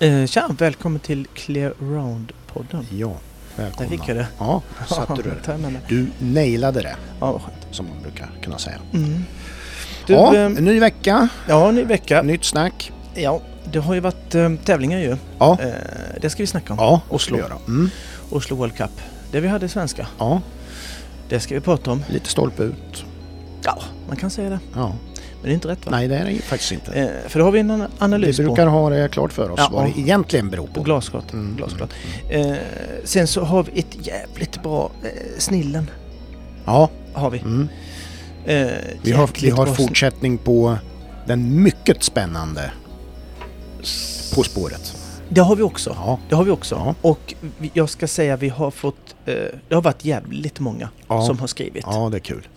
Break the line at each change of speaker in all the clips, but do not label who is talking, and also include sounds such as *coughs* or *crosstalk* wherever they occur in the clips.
Eh, tja, välkommen till Clear Round-podden.
Ja,
Där
välkomna.
fick jag det.
Ja, satte du det.
Tack, men-
Du nailade det,
Ja, vad skönt.
som man brukar kunna säga.
Mm. Du,
ja,
ehm,
en ny vecka,
ja, ny vecka.
nytt snack.
Ja, det har ju varit eh, tävlingar ju.
Ja,
Eh, det ska vi snacka om.
ja och
Oslo.
slå. Göra. Mm,
Oslo World Cup. Det vi hade svenska.
ja,
Det ska vi prata om.
lite stolpe ut.
Ja, man kan säga det.
Ja.
Men det är inte rätt va?
Nej, det är det ju faktiskt inte.
Eh, för då har vi en an-
Vi
analys
brukar ha det klart för oss
Ja,
vad
ja.
det egentligen beror
på.
på.
Och glasklart.
Mm,
glasklart. Eh, sen så har vi ett jävligt bra eh, snillen.
Ja,
Har vi.
mm.
Eh,
vi, har, vi
jäkligt
har
bra
fortsättning på den mycket spännande På spåret.
sn- Det har vi också.
Ja,
Det har vi också.
Ja.
Och vi- jag ska säga vi har fått, eh, det har varit jävligt många
Ja.
som har skrivit.
ja det är kul.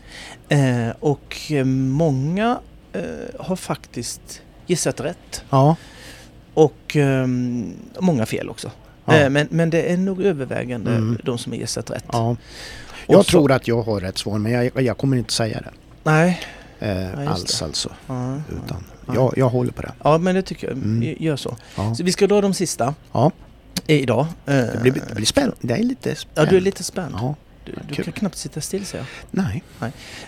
Eh, och eh, många eh, har faktiskt gissat rätt.
Ja,
Och ehm, många fel också.
ja,
Eh, men, men det är nog övervägande
Mm.
de som har gissat rätt.
ja. Jag
Och så-
tror att jag har rätt svar, men jag, jag kommer inte säga det.
Nej.
Eh,
Ja, just
alls alltså.
Ja,
Utan
Ja.
jag, jag håller på det.
ja men det tycker jag.
Mm.
Gör så.
Ja.
Så vi ska dra de sista
Ja.
eh, idag. Eh,
Det blir, det blir spännande. Det är lite
Ja,
spännande.
du är lite spänd.
Ja.
du du
kul.
kan knappt sitta still säger jag.
Nej.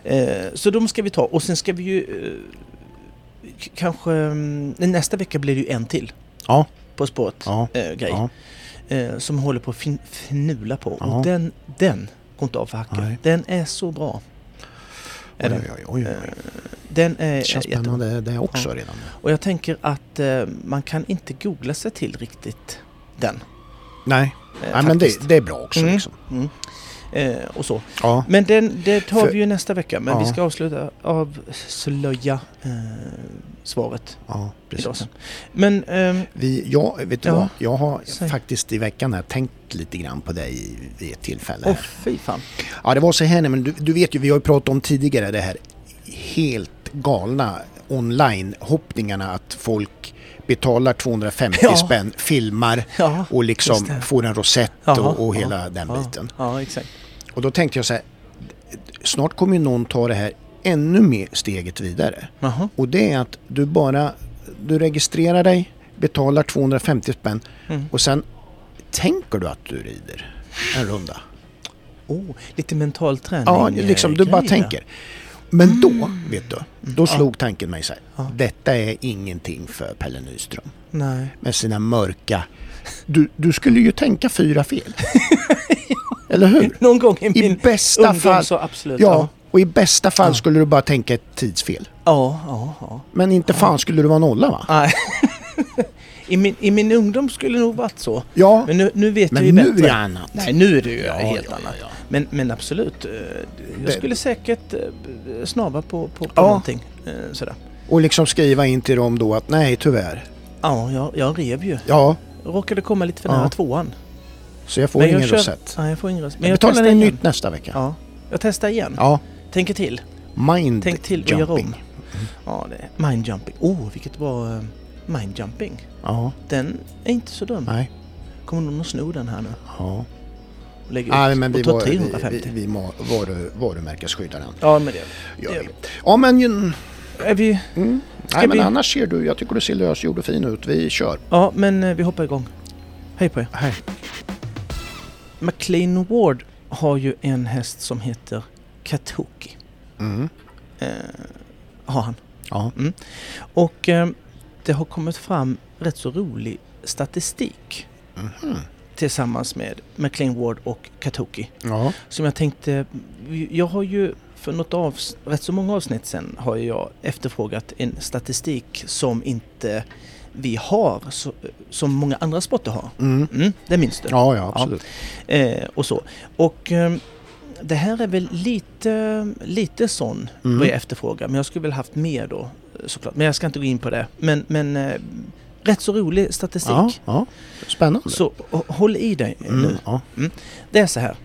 Eh, så de ska vi ta och sen ska vi ju eh, k- kanske mm, nästa vecka blir det ju en till.
Ja.
På spåret
Ja.
eh, grej
Ja.
eh, som håller på att fin- fnula på
Ja.
och den, den går inte av för hacken.
Nej.
Den är så bra. Är
Oj,
den.
oj, oj, oj.
Eh, den är
Det känns
är jättebra.
spännande det också
Ja.
redan.
Och jag tänker att eh, man kan inte googla sig till riktigt den.
Nej,
eh,
Nej men
faktiskt.
det, det är bra också.
Mm.
Liksom.
Mm. Eh, och så.
Ja.
Men den, det tar
För-
vi ju nästa vecka. Men vi
Ja.
ska avsluta, avslöja eh, svaret
ja,
idag
precis.
sen. Men ehm,
Vi, jag, vet du
Ja.
vad? Jag har
Säg.
faktiskt i veckan här tänkt lite grann på dig i- vid ett tillfälle.
Åh
här.
fy fan.
Ja, det var så här, nej, men du, du vet ju, vi har ju pratat om tidigare det här helt galna online-hoppningarna att folk betalar 250
Ja.
spänn, filmar
Ja,
och
Just det.
liksom får en rosett
Jaha,
och, och
ja,
hela den biten.
Ja, ja exakt.
Och då tänkte jag så här, snart kommer ju någon ta det här ännu mer steget vidare.
Jaha.
Och det är att du bara, du registrerar dig, betalar 250 spänn
Mm.
och sen tänker du att du rider en runda.
Oh, lite mental träning.
Ja,
eh,
liksom du bara
grej där.
tänker. Men då, vet du, då slog tanken mig så här.
Mm. Ja.
Detta är ingenting för Pelle Nyström.
Nej.
Med sina mörka... Du, du skulle ju tänka
*laughs*
fyra fel. Eller hur?
Någon gång i
Mm. I
min
bästa
ungdom
fall...
så absolut.
Ja, och i bästa fall
Ja.
skulle du bara tänka ett tidsfel.
Ja, ja, ja.
Men inte fan skulle du vara nolla va?
Nej. *laughs* I min, I min ungdom skulle det nog varit så.
Ja,
Men nu, nu vet jag ju
men nu
bättre.
är det annat.
Nej, nu är det ju helt
ja,
annat.
ja, ja.
Men, men absolut, eh, jag
Det-
skulle säkert eh, b- snava på, på, på
Ja.
någonting. eh, Sådär.
Och liksom skriva in till dem då att nej tyvärr.
Ja, jag, jag rev ju.
Ja,
Råkade komma lite för
Ja.
nära tvåan.
så jag får
Men jag
ingen
kör-
rosett.
Nej, jag får ingen röst.
Men jag
testar
betalar in
igen.
nytt nästa vecka.
Ja, jag testar igen.
Ja,
Tänker till.
mind
Tänk till och gör om.
jumping.
Ja, det är mind jumping. Oh, vilket bra eh, mind jumping.
Ja,
Den är inte så dum.
nej.
Kommer någon att sno den här nu
Ja.
och lägga
Nej,
ut
men vi,
och ta
var, vi,
350?
vi, vi må- varu, varumärkesskyddar den.
Ja, men det
Gör
det-
vi. Ja, men... ju-
är vi.
Mm.
vi-
Nej, men annars ser du, jag tycker du ser lösgjord och fin ut. Vi kör.
Ja, men eh, vi hoppar igång. Hej på er.
Här.
McLean Ward har ju en häst som heter Katoki.
Mm.
Eh, har han.
Ja.
Och eh, det har kommit fram rätt så rolig statistik
Mhm.
tillsammans med McLean Ward och Katoki.
Ja.
Som jag tänkte, jag har ju för något avs- rätt så många avsnitt sen har jag efterfrågat en statistik som inte vi har, så, som många andra sporter har.
Mm.
Mm, det minns du.
Ja, ja, absolut.
Eh, och så. Och ehm, det här är väl lite, lite sån
Mm.
vad jag efterfrågar. Men jag skulle väl haft mer då eh, såklart. Men jag ska inte gå in på det. Men, men eh, rätt så rolig statistik.
Ja, ja. Spännande.
Så h- håll i dig eh,
Mm.
nu.
Ja.
Det är så här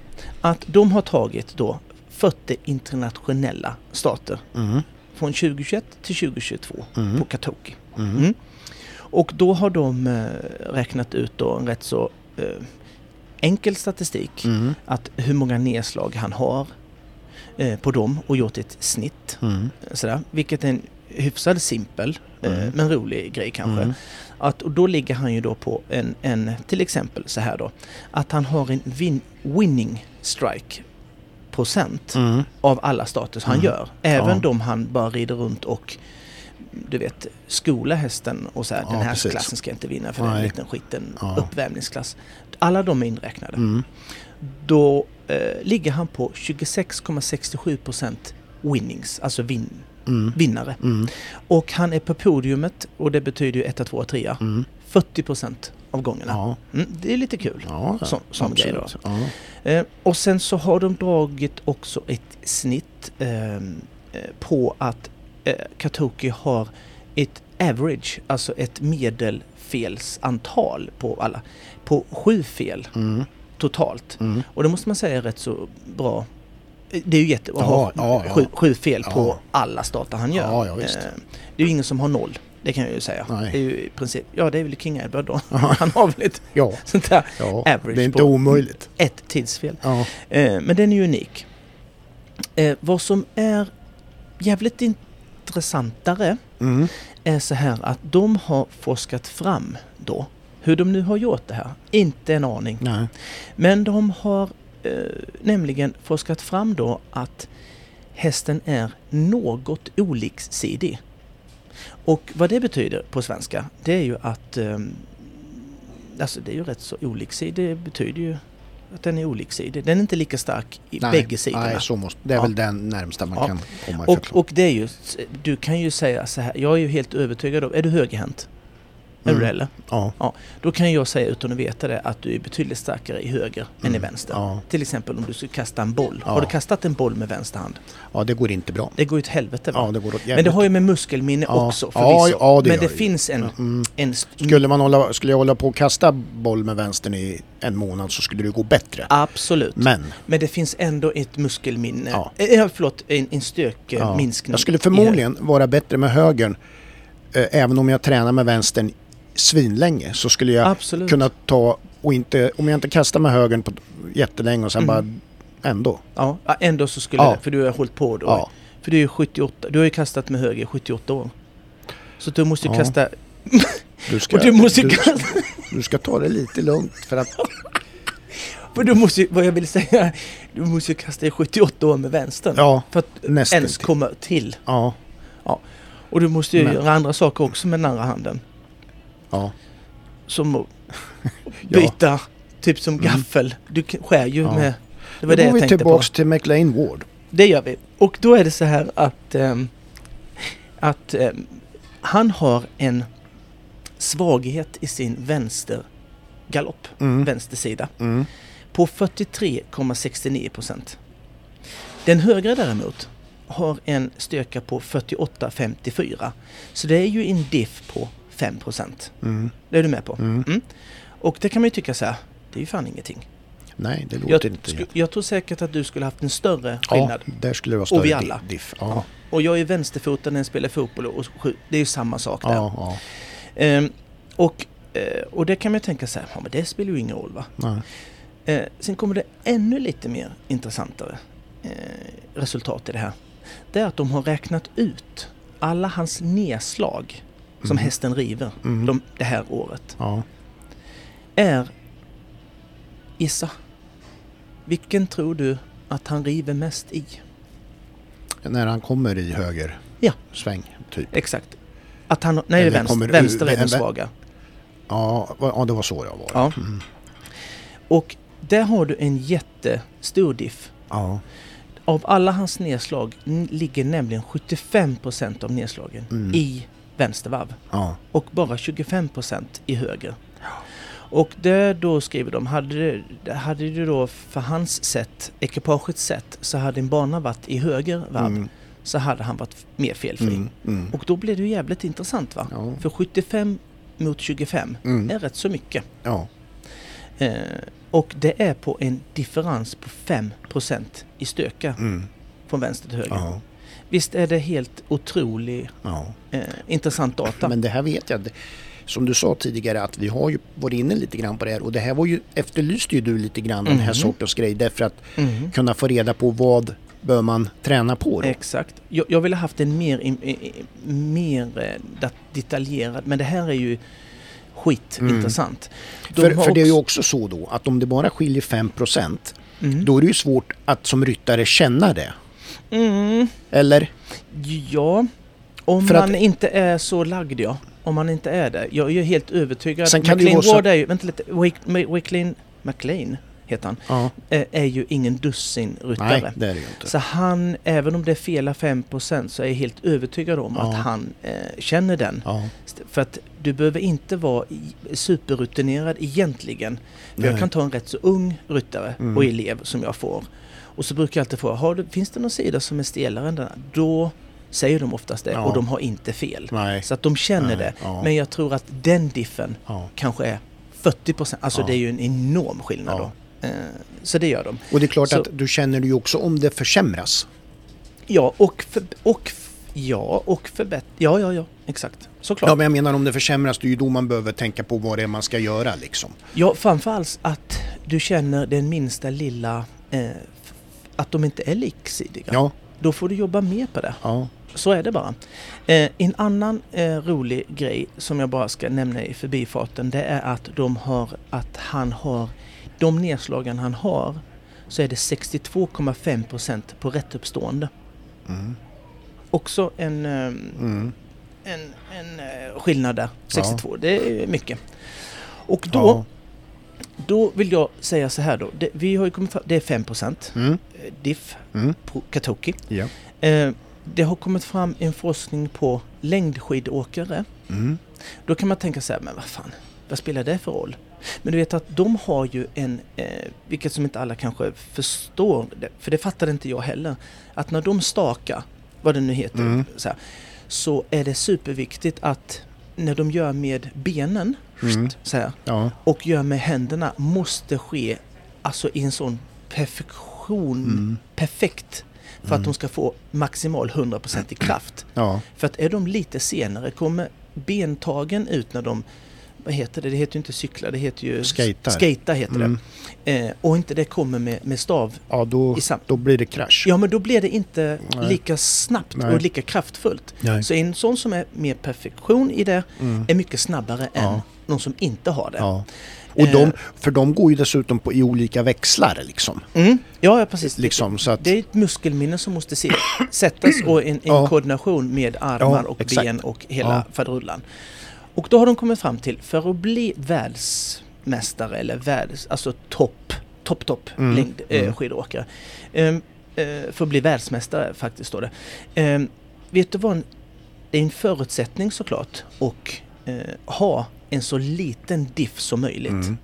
att de har tagit då 40 internationella stater
Mm.
från 2021 till 2022
Mm.
på Katoki.
Mm.
Mm. Och då har de eh, räknat ut då en rätt så eh, enkel statistik
Mm.
att hur många nedslag han har eh, på dem och gjort ett snitt.
Mm.
Sådär, vilket är en hyfsad simpel
Mm.
eh, men rolig grej kanske.
Mm.
Att, och då ligger han ju då på en, en, till exempel så här då, att han har en win, winning strike procent
Mm.
av alla status han
Mm.
gör. Även
Ja.
de han bara rider runt och du vet, skola hästen och så här,
Ja,
den här
precis.
klassen ska jag inte vinna för den
Nej.
liten skiten,
Ja.
uppvärmningsklass. Alla de är inräknade.
Mm.
Då eh, ligger han på 26,67% winnings, alltså vin,
Mm.
vinnare.
Mm.
Och han är på podiumet och det betyder ju 1, 2, 3.
Mm.
40% av gångerna.
Ja.
Mm, det är lite kul.
Ja,
Som- som grej då.
absolut. Ja.
Eh, och sen så har de dragit också ett snitt ehm, eh, på att eh, Katoki har ett average, alltså ett medelfelsantal på alla, på sju fel
Mm.
totalt.
Mm.
Och det måste man säga är rätt så bra. Eh, Det är ju jättebra att
Ja,
ha
ja, ja.
Sju, sju fel på
Ja.
alla starter han gör.
Ja, ja, visst.
Eh, Det är ju ingen som har noll, det kan jag ju säga.
Nej.
Det är ju i princip, ja det är väl King Edward då.
Ja.
*laughs* Han har väl ett
Ja.
sånt där,
ja,
Average
det är inte
på-
omöjligt.
ett tidsfel.
Ja.
Eh, men den är ju unik. Eh, vad som är jävligt intressantare
Mm.
är så här att de har forskat fram då hur de nu har gjort det här. Inte en aning.
Nej.
Men de har eh, nämligen forskat fram då att hästen är något oliksidig. Och vad det betyder på svenska, det är ju att... Eh, alltså det är ju rätt så oliksidig, det betyder ju att den är oliksidig. Den är inte lika stark i
Nej.
bägge sidorna.
Nej, så måste, det är
Ja.
väl den närmsta man
Ja.
kan komma
och,
förklart.
och det är ju... Du kan ju säga så här, jag är ju helt övertygad om... Är du högerhänt? Är
Mm.
du det eller?
Ja.
Då kan jag säga utan att veta det att du är betydligt starkare i höger än i
Mm.
vänster.
Ja.
Till exempel om du ska kasta en boll.
Ja.
Har du kastat en boll med vänster hand?
ja, det går inte bra.
Det går ju åt helvete va?
Ja, det går åt
Men det
jävligt.
har ju med muskelminne
Ja.
också
Ja,
förvisso.
ja, det
Men
gör
det
det ju.
finns en...
Mm.
en st-
Skulle, man hålla, skulle jag hålla på och kasta boll med vänstern i en månad så skulle det gå bättre.
Absolut. Men,
Men
det finns ändå ett muskelminne. Ja.
Ja.
Eh, förlåt, en, en styrkeminskning.
jag skulle
i höger.
förmodligen vara bättre med högern. Eh, även om jag tränar med vänstern svinlänge så skulle jag
Absolut.
kunna ta och inte, om jag inte kastar med högern på jättelänge och sen
Mm.
bara ändå.
Ja, ja, ändå så skulle
Ja.
det, för du har hållit på då.
Ja.
För du är ju 78, du har ju kastat med höger i 78 år. Så du måste ju
Ja.
kasta...
Du ska,
Och du måste ju
du,
kasta...
du ska ta det lite lugnt för
*laughs*
att...
För du måste ju, vad jag vill säga, du måste ju kasta i 78 år med vänstern.
Ja,
För att
nästan.
ens
till.
komma till.
Ja,
Och du måste ju
Men-
göra andra saker också med den andra handen.
ja,
Som
*laughs*
att byta, typ som gaffel. Du k- skär ju
Mm. Ja.
med... Det var det
Då går
jag
vi
tänkte
tillbaks
på.
till McLean Ward.
Det gör vi. Och då är det så här att... ehm, att ehm, han har en svaghet i sin vänstergalopp,
Mm.
vänstersida,
Mm.
på 43,69 procent. Den högra däremot har en styrka på 48,54. Så det är ju en diff på 5 procent.
Mm.
Det är du med på.
Mm.
Och det kan man ju tycka så här, det är ju fan ingenting.
Nej, det låter
Jag,
inte...
sku, jag tror säkert att du skulle haft en större
ja,
skillnad.
där skulle det vara större
vi
di-
alla.
diff. Ja,
Och jag är vänsterfotad när jag spelar fotboll och skjut- det är ju samma sak där.
ja, ja.
Ehm, och, eh, och det kan man ju tänka så här, ja, men det spelar ju ingen roll va.
Nej.
Eh, sen kommer det ännu lite mer intressantare eh, resultat i det här. Det är att de har räknat ut alla hans nedslag som
Mhm.
hästen river
Mm.
de, det här året.
Ja.
Är... Gissa. Vilken tror du att han river mest i?
När han kommer i höger
Ja.
sväng, typ.
Exakt. Att han... Nej, det är
Eller
vänster.
kommer ur-
vänster är den
vän- vän-
svaga.
Ja, va- ja, det var så jag var.
Ja.
Mm.
Och där har du en jättestor diff.
ja.
Av alla hans nedslag n- ligger nämligen 75% av nedslagen
Mm.
i vänstervarv
ja.
och bara 25% i höger. Och där då skriver de, hade det, hade det då för hans sätt, ekipagets sätt, så hade en bana varit i höger varv
Mm.
så hade han varit f- mer felfri.
Mm. Mm.
Och då blev det ju jävligt intressant va?
Ja.
För 75 mot 25
Mm.
är rätt så mycket.
ja.
Eh, och det är på en differens på 5% i stöka
Mm.
från vänster till höger.
Ja.
Visst är det helt otroligt
ja.
eh, intressant data?
Men det här vet jag. Det- Som du sa tidigare att vi har ju varit inne lite grann på det här och det här var ju, efterlyste ju du lite grann den här
Mhm.
sortens grej därför att
Mhm.
kunna få reda på vad bör man träna på då?
Exakt. Jag, jag ville haft en mer, im- i- i- mer eh, dat- detaljerad, men det här är ju skitintressant. De
Mm. För,
har
för det är ju
också-
också så då att om det bara skiljer 5 procent,
Mm.
då är det ju svårt att som ryttare känna det.
Mm.
Eller?
Ja, om
För att-
man inte är så lagd ja. Om man inte är det. Jag är ju helt övertygad.
Sen kan det ju
McLean
vara så-
Ward är ju, vänta lite, Wake- Ma- McLean, McLean heter han,
Ja.
eh, är ju ingen
Nej,
dussinryttare.
det är det ju inte.
Så han, även om det är fel 5% så är jag helt övertygad om
Ja.
att han eh, känner den.
Ja.
För att du behöver inte vara i- superrutinerad egentligen. För jag
Nej.
kan ta en rätt så ung ryttare
Mm.
och elev som jag får. Och så brukar jag alltid fråga, har du, finns det någon sida som är stelare än den här? Då säger de oftast det
Ja.
och de har inte fel.
Nej.
Så att de känner
Nej,
det.
ja.
Men jag tror att den diffen
Ja.
kanske är 40%. Alltså
Ja.
det är ju en enorm skillnad
Ja.
då. Eh, Så det gör de.
Och det är klart
Så-
att du känner ju också om det försämras.
Ja, och, för, och, f- ja, och förbättra. Ja, ja, ja, exakt. Såklart.
Ja, men jag menar om det försämras, det är ju då man behöver tänka på vad det är man ska göra liksom.
Ja, framförallt att du känner den minsta lilla... Eh, f- att de inte är liksidiga.
Ja,
Då får du jobba mer på det.
ja.
Så är det bara. Eh, en annan eh, rolig grej som jag bara ska nämna i förbifarten det är att de har... Att han har... De nedslagen han har så är det 62,5% på rättuppstående.
Mm.
Också en... Eh,
Mm.
en, en eh, skillnad där. 62, det är mycket. Och då,
Ja.
då vill jag säga så här då. Det, vi har ju kommit fram, det är 5 procent. eh,
Mm.
Diff,
Mm.
på Katoki.
Ja.
Eh, det har kommit fram en forskning på längdskidåkare.
Mm.
Då kan man tänka så här, men vad fan, vad spelar det för roll? Men du vet att de har ju en, eh, vilket som inte alla kanske förstår, det- för det fattade inte jag heller, att när de stakar, vad det nu heter,
Mm.
så, här, så är det superviktigt att när de gör med benen
Mm.
så här,
Ja.
och gör med händerna måste ske alltså i en sån perfektion,
Mm.
perfekt, för att de ska få maximal 100%
*clears throat*
i kraft.
Ja.
För att är de lite senare kommer bentagen ut när de, vad heter det, det heter ju inte cykla, det heter ju
Skatar.
skata heter
Mm.
det. Eh, och inte det kommer med, med stav.
Ja, då,
I sam-
då blir det krasch.
Ja men då blir det inte
Nej.
lika snabbt
Nej.
och lika kraftfullt.
Nej.
Så en sån som är mer perfektion i det
Mm.
är mycket snabbare än
Ja.
någon som inte har det.
Ja. Och de,
Eh.
för de går ju dessutom på, i olika växlar liksom.
Mm. Ja, ja precis.
liksom så att,
Det är ett muskelminne som måste se, *coughs* sättas och en, en
Ja.
koordination med armar
Ja,
och
exakt.
ben och hela
Ja.
faderullan. Och då har de kommit fram till, för att bli världsmästare eller världs, alltså topp, topp, topp
Mm,
längd, eh,
mm.
skidåkare. Ehm, eh, för att bli världsmästare faktiskt står det. Ehm, vet du vad, en, det är en förutsättning såklart och eh, ha en så liten diff som möjligt.
Mm.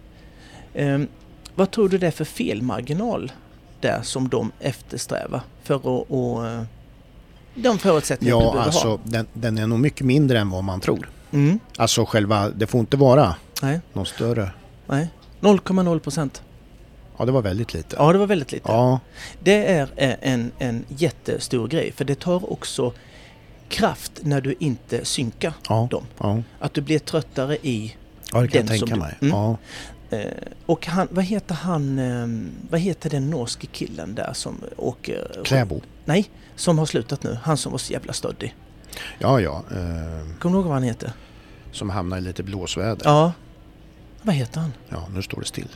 Ehm, vad tror du det är för felmarginal där som de eftersträvar för att... Och, eh, de förutsättningar du
ja
behöver ha?
alltså den, den är nog mycket mindre än vad man tror.
Mm,
Alltså själva, det får inte vara
nej,
någon större.
nej. 0,0 procent.
Ja, det var väldigt lite.
Ja, det var väldigt lite.
Ja,
Det är eh, en, en jättestor grej för det tar också kraft när du inte synkar
ja,
dem.
ja.
Att du blir tröttare i...
ja det kan
Den som
jag tänka
du-
mig.
Mm.
Ja.
Eh, och han, vad heter han... Eh, vad heter den norske killen där som åker...
Kläbo.
Nej, som har slutat nu. Han som var så jävla stöddig.
Ja, ja. Eh,
Kommer du ihåg vad han heter?
som hamnar i lite blåsväder. Ja.
Ja. Vad heter han?
nu står det still.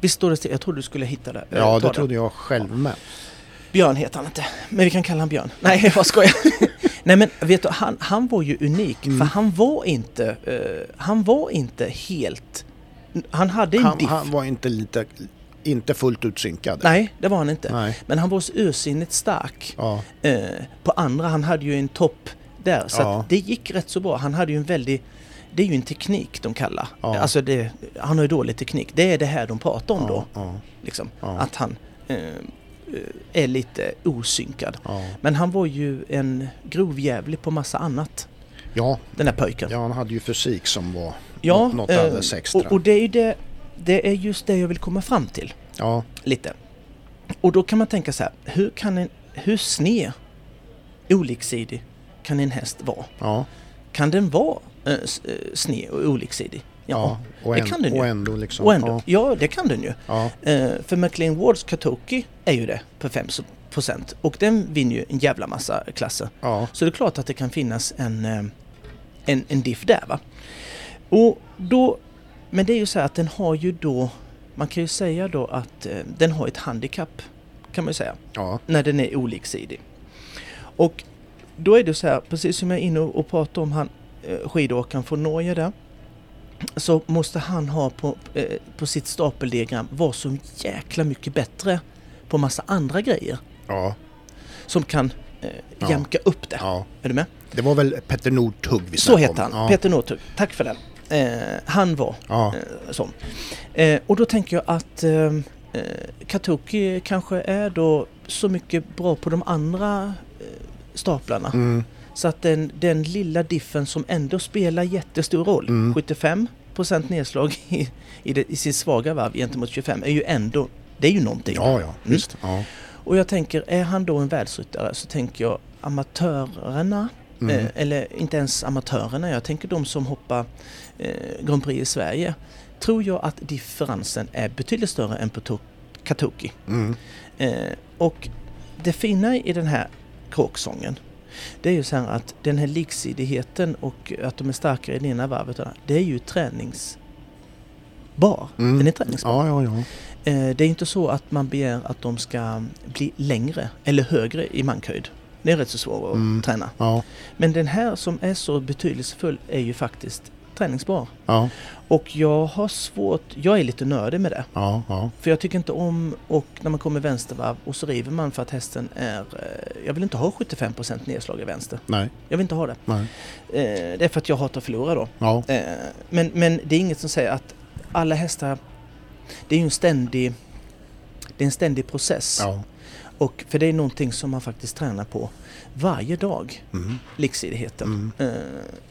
Visst står det still? Jag trodde du skulle hitta det.
Ja,
Eh, ta
det trodde jag själv med.
Björn heter han inte. Men vi kan kalla honom Björn. Nej, *laughs* jag bara skojar. Nej men vet du, han, han var ju unik.
Mm.
För han var inte, eh, han var inte helt... Han hade en
Han,
diff.
han var inte, lite, inte fullt ut synkad.
Nej, det var han inte.
Nej.
Men han var så ursinnigt stark.
Ja,
eh, på andra. Han hade ju en topp där. Så
Ja.
att det gick rätt så bra. Han hade ju en väldig... Det är ju en teknik de kallar.
Ja.
Alltså det, han har ju dålig teknik. Det är det här de pratar om då.
ja, ja,
Liksom.
Ja.
Att han eh, eh, är lite osynkad.
ja.
Men han var ju en grovjävlig på massa annat.
ja,
Den här pojken.
Ja, han hade ju fysik som var
Ja,
något
eh,
alldeles extra.
Och, och det är ju det, det är just det jag vill komma fram till.
ja,
Lite. Och då kan man tänka så här. Hur kan en... Hur sned, oliksidig, kan en häst vara?
ja,
kan den vara eh, s- eh, sned och oliksidig? Ja,
ja. Och,
det
en-
kan den ju.
och ändå liksom.
och ändå. Ja. det kan den ju.
Ja,
Eh, för McLean Wards Katoki är ju det på 5 procent. Och den vinner ju en jävla massa klasser.
Ja.
Så det är klart att det kan finnas en, eh, en, en diff där. Va? Och då, men det är ju så här att den har ju då, man kan ju säga då att eh, den har ett handikapp kan man ju säga,
Ja.
när den är oliksidig. Och då är det så här, precis som jag är inne och och pratar om han eh, skidåkaren från Norge där, så måste han ha på, eh, på sitt stapeldiagram vara så jäkla mycket bättre på massa andra grejer
Ja.
som kan eh,
Ja.
jämka upp det.
ja.
Är du med?
Det var väl Petter Nordtug vi
Så
snackade
heter han,
om. Ja.
Peter Northug. Tack för den. Eh, han var
Ja.
eh, sån. Eh, och då tänker jag att eh, eh, Katoki kanske är då så mycket bra på de andra eh, staplarna.
Mm.
Så att den, den lilla diffen som ändå spelar jättestor roll,
Mm.
75 procent nedslag *laughs* i, i, det, i sin svaga varv gentemot 25, är ju ändå, det är ju någonting.
Ja, ja, visst. Ja.
Och jag tänker, är han då en världsryttare så tänker jag amatörerna,
Mm.
eh, eller inte ens amatörerna, jag tänker de som hoppar eh, Grand Prix i Sverige, tror jag att differensen är betydligt större än på to- Katoki.
Mm.
Eh, och det fina i den här kråksången, det är ju så här att den här liksidigheten och att de är starkare i det ena varvet, och det andra, det är ju träningsbar.
Mm.
Den är träningsbar.
Ja, ja, ja.
Eh, Det är inte så att man begär att de ska bli längre eller högre i mankhöjd. Det är rätt så svårt att
Mm.
träna.
Ja,
Men den här som är så betydelsefull är ju faktiskt träningsbar.
ja,
Och jag har svårt, jag är lite nördig med det.
ja, ja.
För jag tycker inte om och när man kommer vänstervarv och så river man för att hästen är... eh, Jag vill inte ha 75% nedslag i vänster.
Nej,
Jag vill inte ha det.
nej.
Eh, Det är för att jag hatar att förlora då.
Ja,
Eh, Men, men det är inget som säger att alla hästar... Det är ju en ständig... Det är en ständig process.
ja.
Och för det är någonting som man faktiskt tränar på varje dag,
Mm.
liksidigheten.
Mm.
Eh,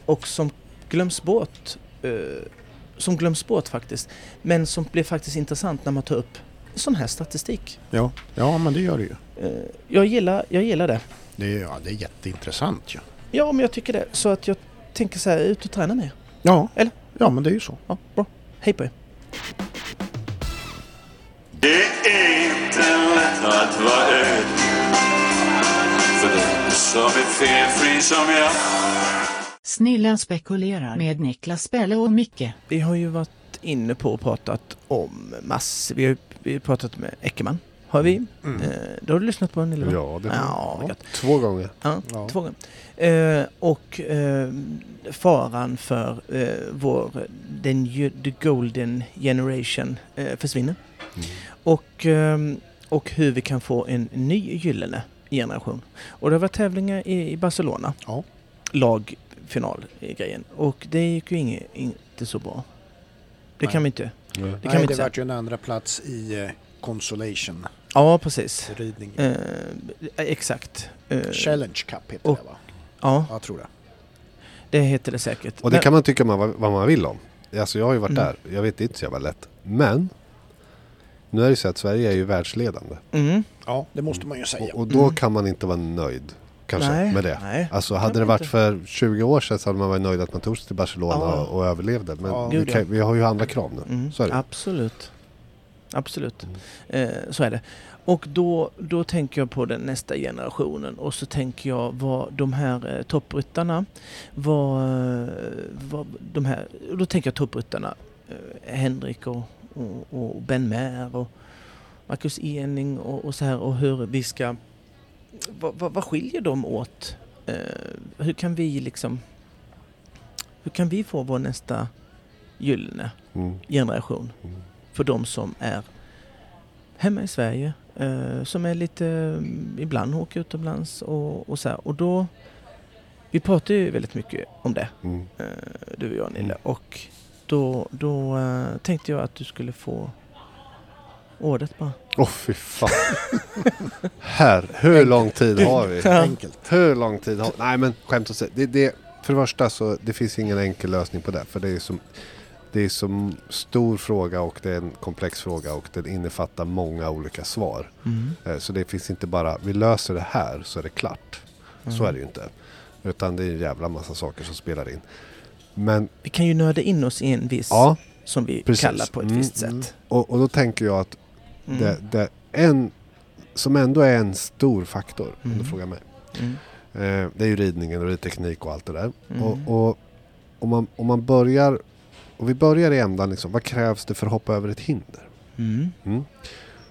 och som glöms bort, eh, som glöms bort faktiskt, men som blir faktiskt intressant när man tar upp sån här statistik.
Ja. ja, men det gör det ju.
Eh, jag, gillar, jag gillar det.
Det är, ja, det är jätteintressant ju.
Ja, men jag tycker det. Så att jag tänker så här, ut och träna mer.
Ja.
Eller?
Ja, men det är ju så.
Ja, bra. Hej på er.
Det er är inte lätt att vara öd För den er som är felfri som jag
Snillen spekulerar med Niklas Pelle och Micke.
Vi har ju varit inne på och pratat om massor. Vi har ju vi har pratat med Eckermann. Har
Mm.
vi? Eh, då har du lyssnat på en eller vad?
Ja, det
Ja, gött.
Två gånger.
Ja,
Ja.
två gånger. Eh, och eh, faran för eh, vår, den, ju- the golden generation eh, försvinner.
Mm.
Och, ehm, och hur vi kan få en ny gyllene generation. Och det var tävlingar i, i Barcelona.
Ja.
Lagfinalgrejen. Och det gick ju inge, inte så bra. Det
Nej.
kan vi inte.
Nej.
Det kan vi
Nej,
inte
det
säga.
vart ju en andra plats i eh, Consolation
Ja, precis.
ridning.
Eh, exakt. Eh,
Challenge Cup heter
och-
det va?
ja,
Ja, jag tror det.
det heter det säkert.
Och det
Men-
kan man tycka man, vad vad man vill om. Alltså jag har ju varit
Mm.
där. Jag vet det är inte så jävla lätt. Men. Nu är det ju så att Sverige är ju världsledande.
mm.
Ja, det måste man ju säga.
Och, och då kan man inte vara nöjd. Kanske
Nej,
med det.
nej.
Alltså
Kan
hade det
man
varit
inte.
för 20 år sedan så hade man varit nöjd att man tog sig till Barcelona
Ja.
och, och överlevde. Men
Ja.
vi,
Gud, ja.
kan, vi har ju andra krav nu.
Mm,
Så är det. Mm.
Absolut. Absolut. Eh, så är det. Och då, då tänker jag på den nästa generationen och så tänker jag vad de här eh, toppryttarna, vad, eh, vad de här, och då tänker jag toppryttarna, eh, Henrik och, och, och Ben Mair och Marcus Ening och, och så här och hur vi ska, vad, vad, vad skiljer de åt? Eh, hur kan vi liksom, hur kan vi få vår nästa gyllene?
Mm.
generation för de som är hemma i Sverige, eh, som är lite, eh, ibland åker utomlands och, och så här. Och då, vi pratar ju väldigt mycket om det,
Mm.
eh, du och jag Nille, och då, då eh, tänkte jag att du skulle få ordet bara.
Åh fy fan. Här, hur lång tid har vi?
Enkelt.
Hur lång tid har... Nej men skämt åsido. Det, det, för det första så det finns ingen enkel lösning på det. För det är som... Det är som stor fråga och det är en komplex fråga och den innefattar många olika svar. Eh, Så det finns inte bara, vi löser det här så är det klart. Så är det ju inte. Utan det är en jävla massa saker som spelar in. Men
Vi kan ju nörda in oss i en viss,
ja,
som vi
precis.
kallar på ett
Mm,
visst
mm.
sätt.
och, och då tänker jag att
Mm.
det, det, en som ändå är en stor faktor, om du
Mm.
frågar mig.
Mm.
Eh, det är ju ridningen och det är teknik och allt det där.
Mm.
Och, och om, man, om man börjar, och vi börjar i ändan liksom, vad krävs det för att hoppa över ett hinder?
Mm.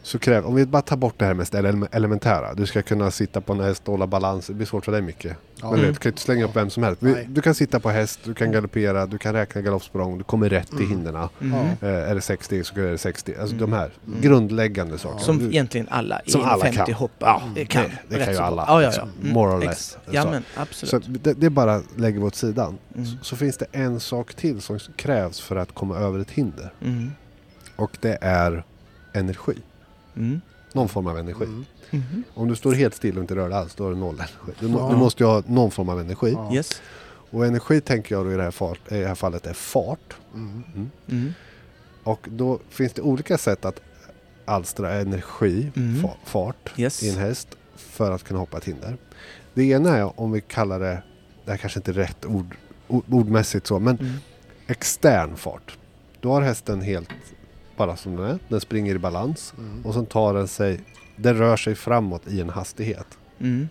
Så kräv, om vi bara tar bort det här mest ele- elementära. Du ska kunna sitta på en häst och hålla balans. Det blir svårt för dig mycket.
Ja.
Men du vet, du kan ju inte slänga upp vem som helst. Vi,
Nej.
du kan sitta på häst, du kan galoppera, du kan räkna galoppsprång, du kommer rätt till hinderna.
Mm.
Eh, är det 60 så är det 60. Alltså de här grundläggande sakerna.
Som
Du-
egentligen alla
Som
i
alla kan.
50 hopp ja,
det-
kan.
det kan
rätt
ju
så bra.
alla,
Ja, ja, ja.
liksom. More or
ex-
less,
Ja,
så.
men
Så
absolut.
det, det bara lägger vi åt sidan.
Mm.
Så, så finns det en sak till som krävs för att komma över ett hinder.
Mm.
Och det är energi.
Mm.
Någon form av energi.
Mm.
Mhm.
Om du står helt still och inte rör dig alls, då har du noll energi. Du, må-
Ja.
du måste ju ha någon form av energi.
Ja.
mm. Yes.
Och energi tänker jag då i det här, fart, i det här fallet är fart.
Mm.
Mm.
Och då finns det olika sätt att alstra energi,
Mm.
fa- fart,
Yes.
i en häst för att kunna hoppa ett hinder. Det ena är om vi kallar det, det här kanske inte är rätt ord, o- ordmässigt så, men
Mm.
extern fart. Då har hästen helt bara som den är, den springer i balans
Mm.
och sen tar den sig, den rör sig framåt i en hastighet.
Mm.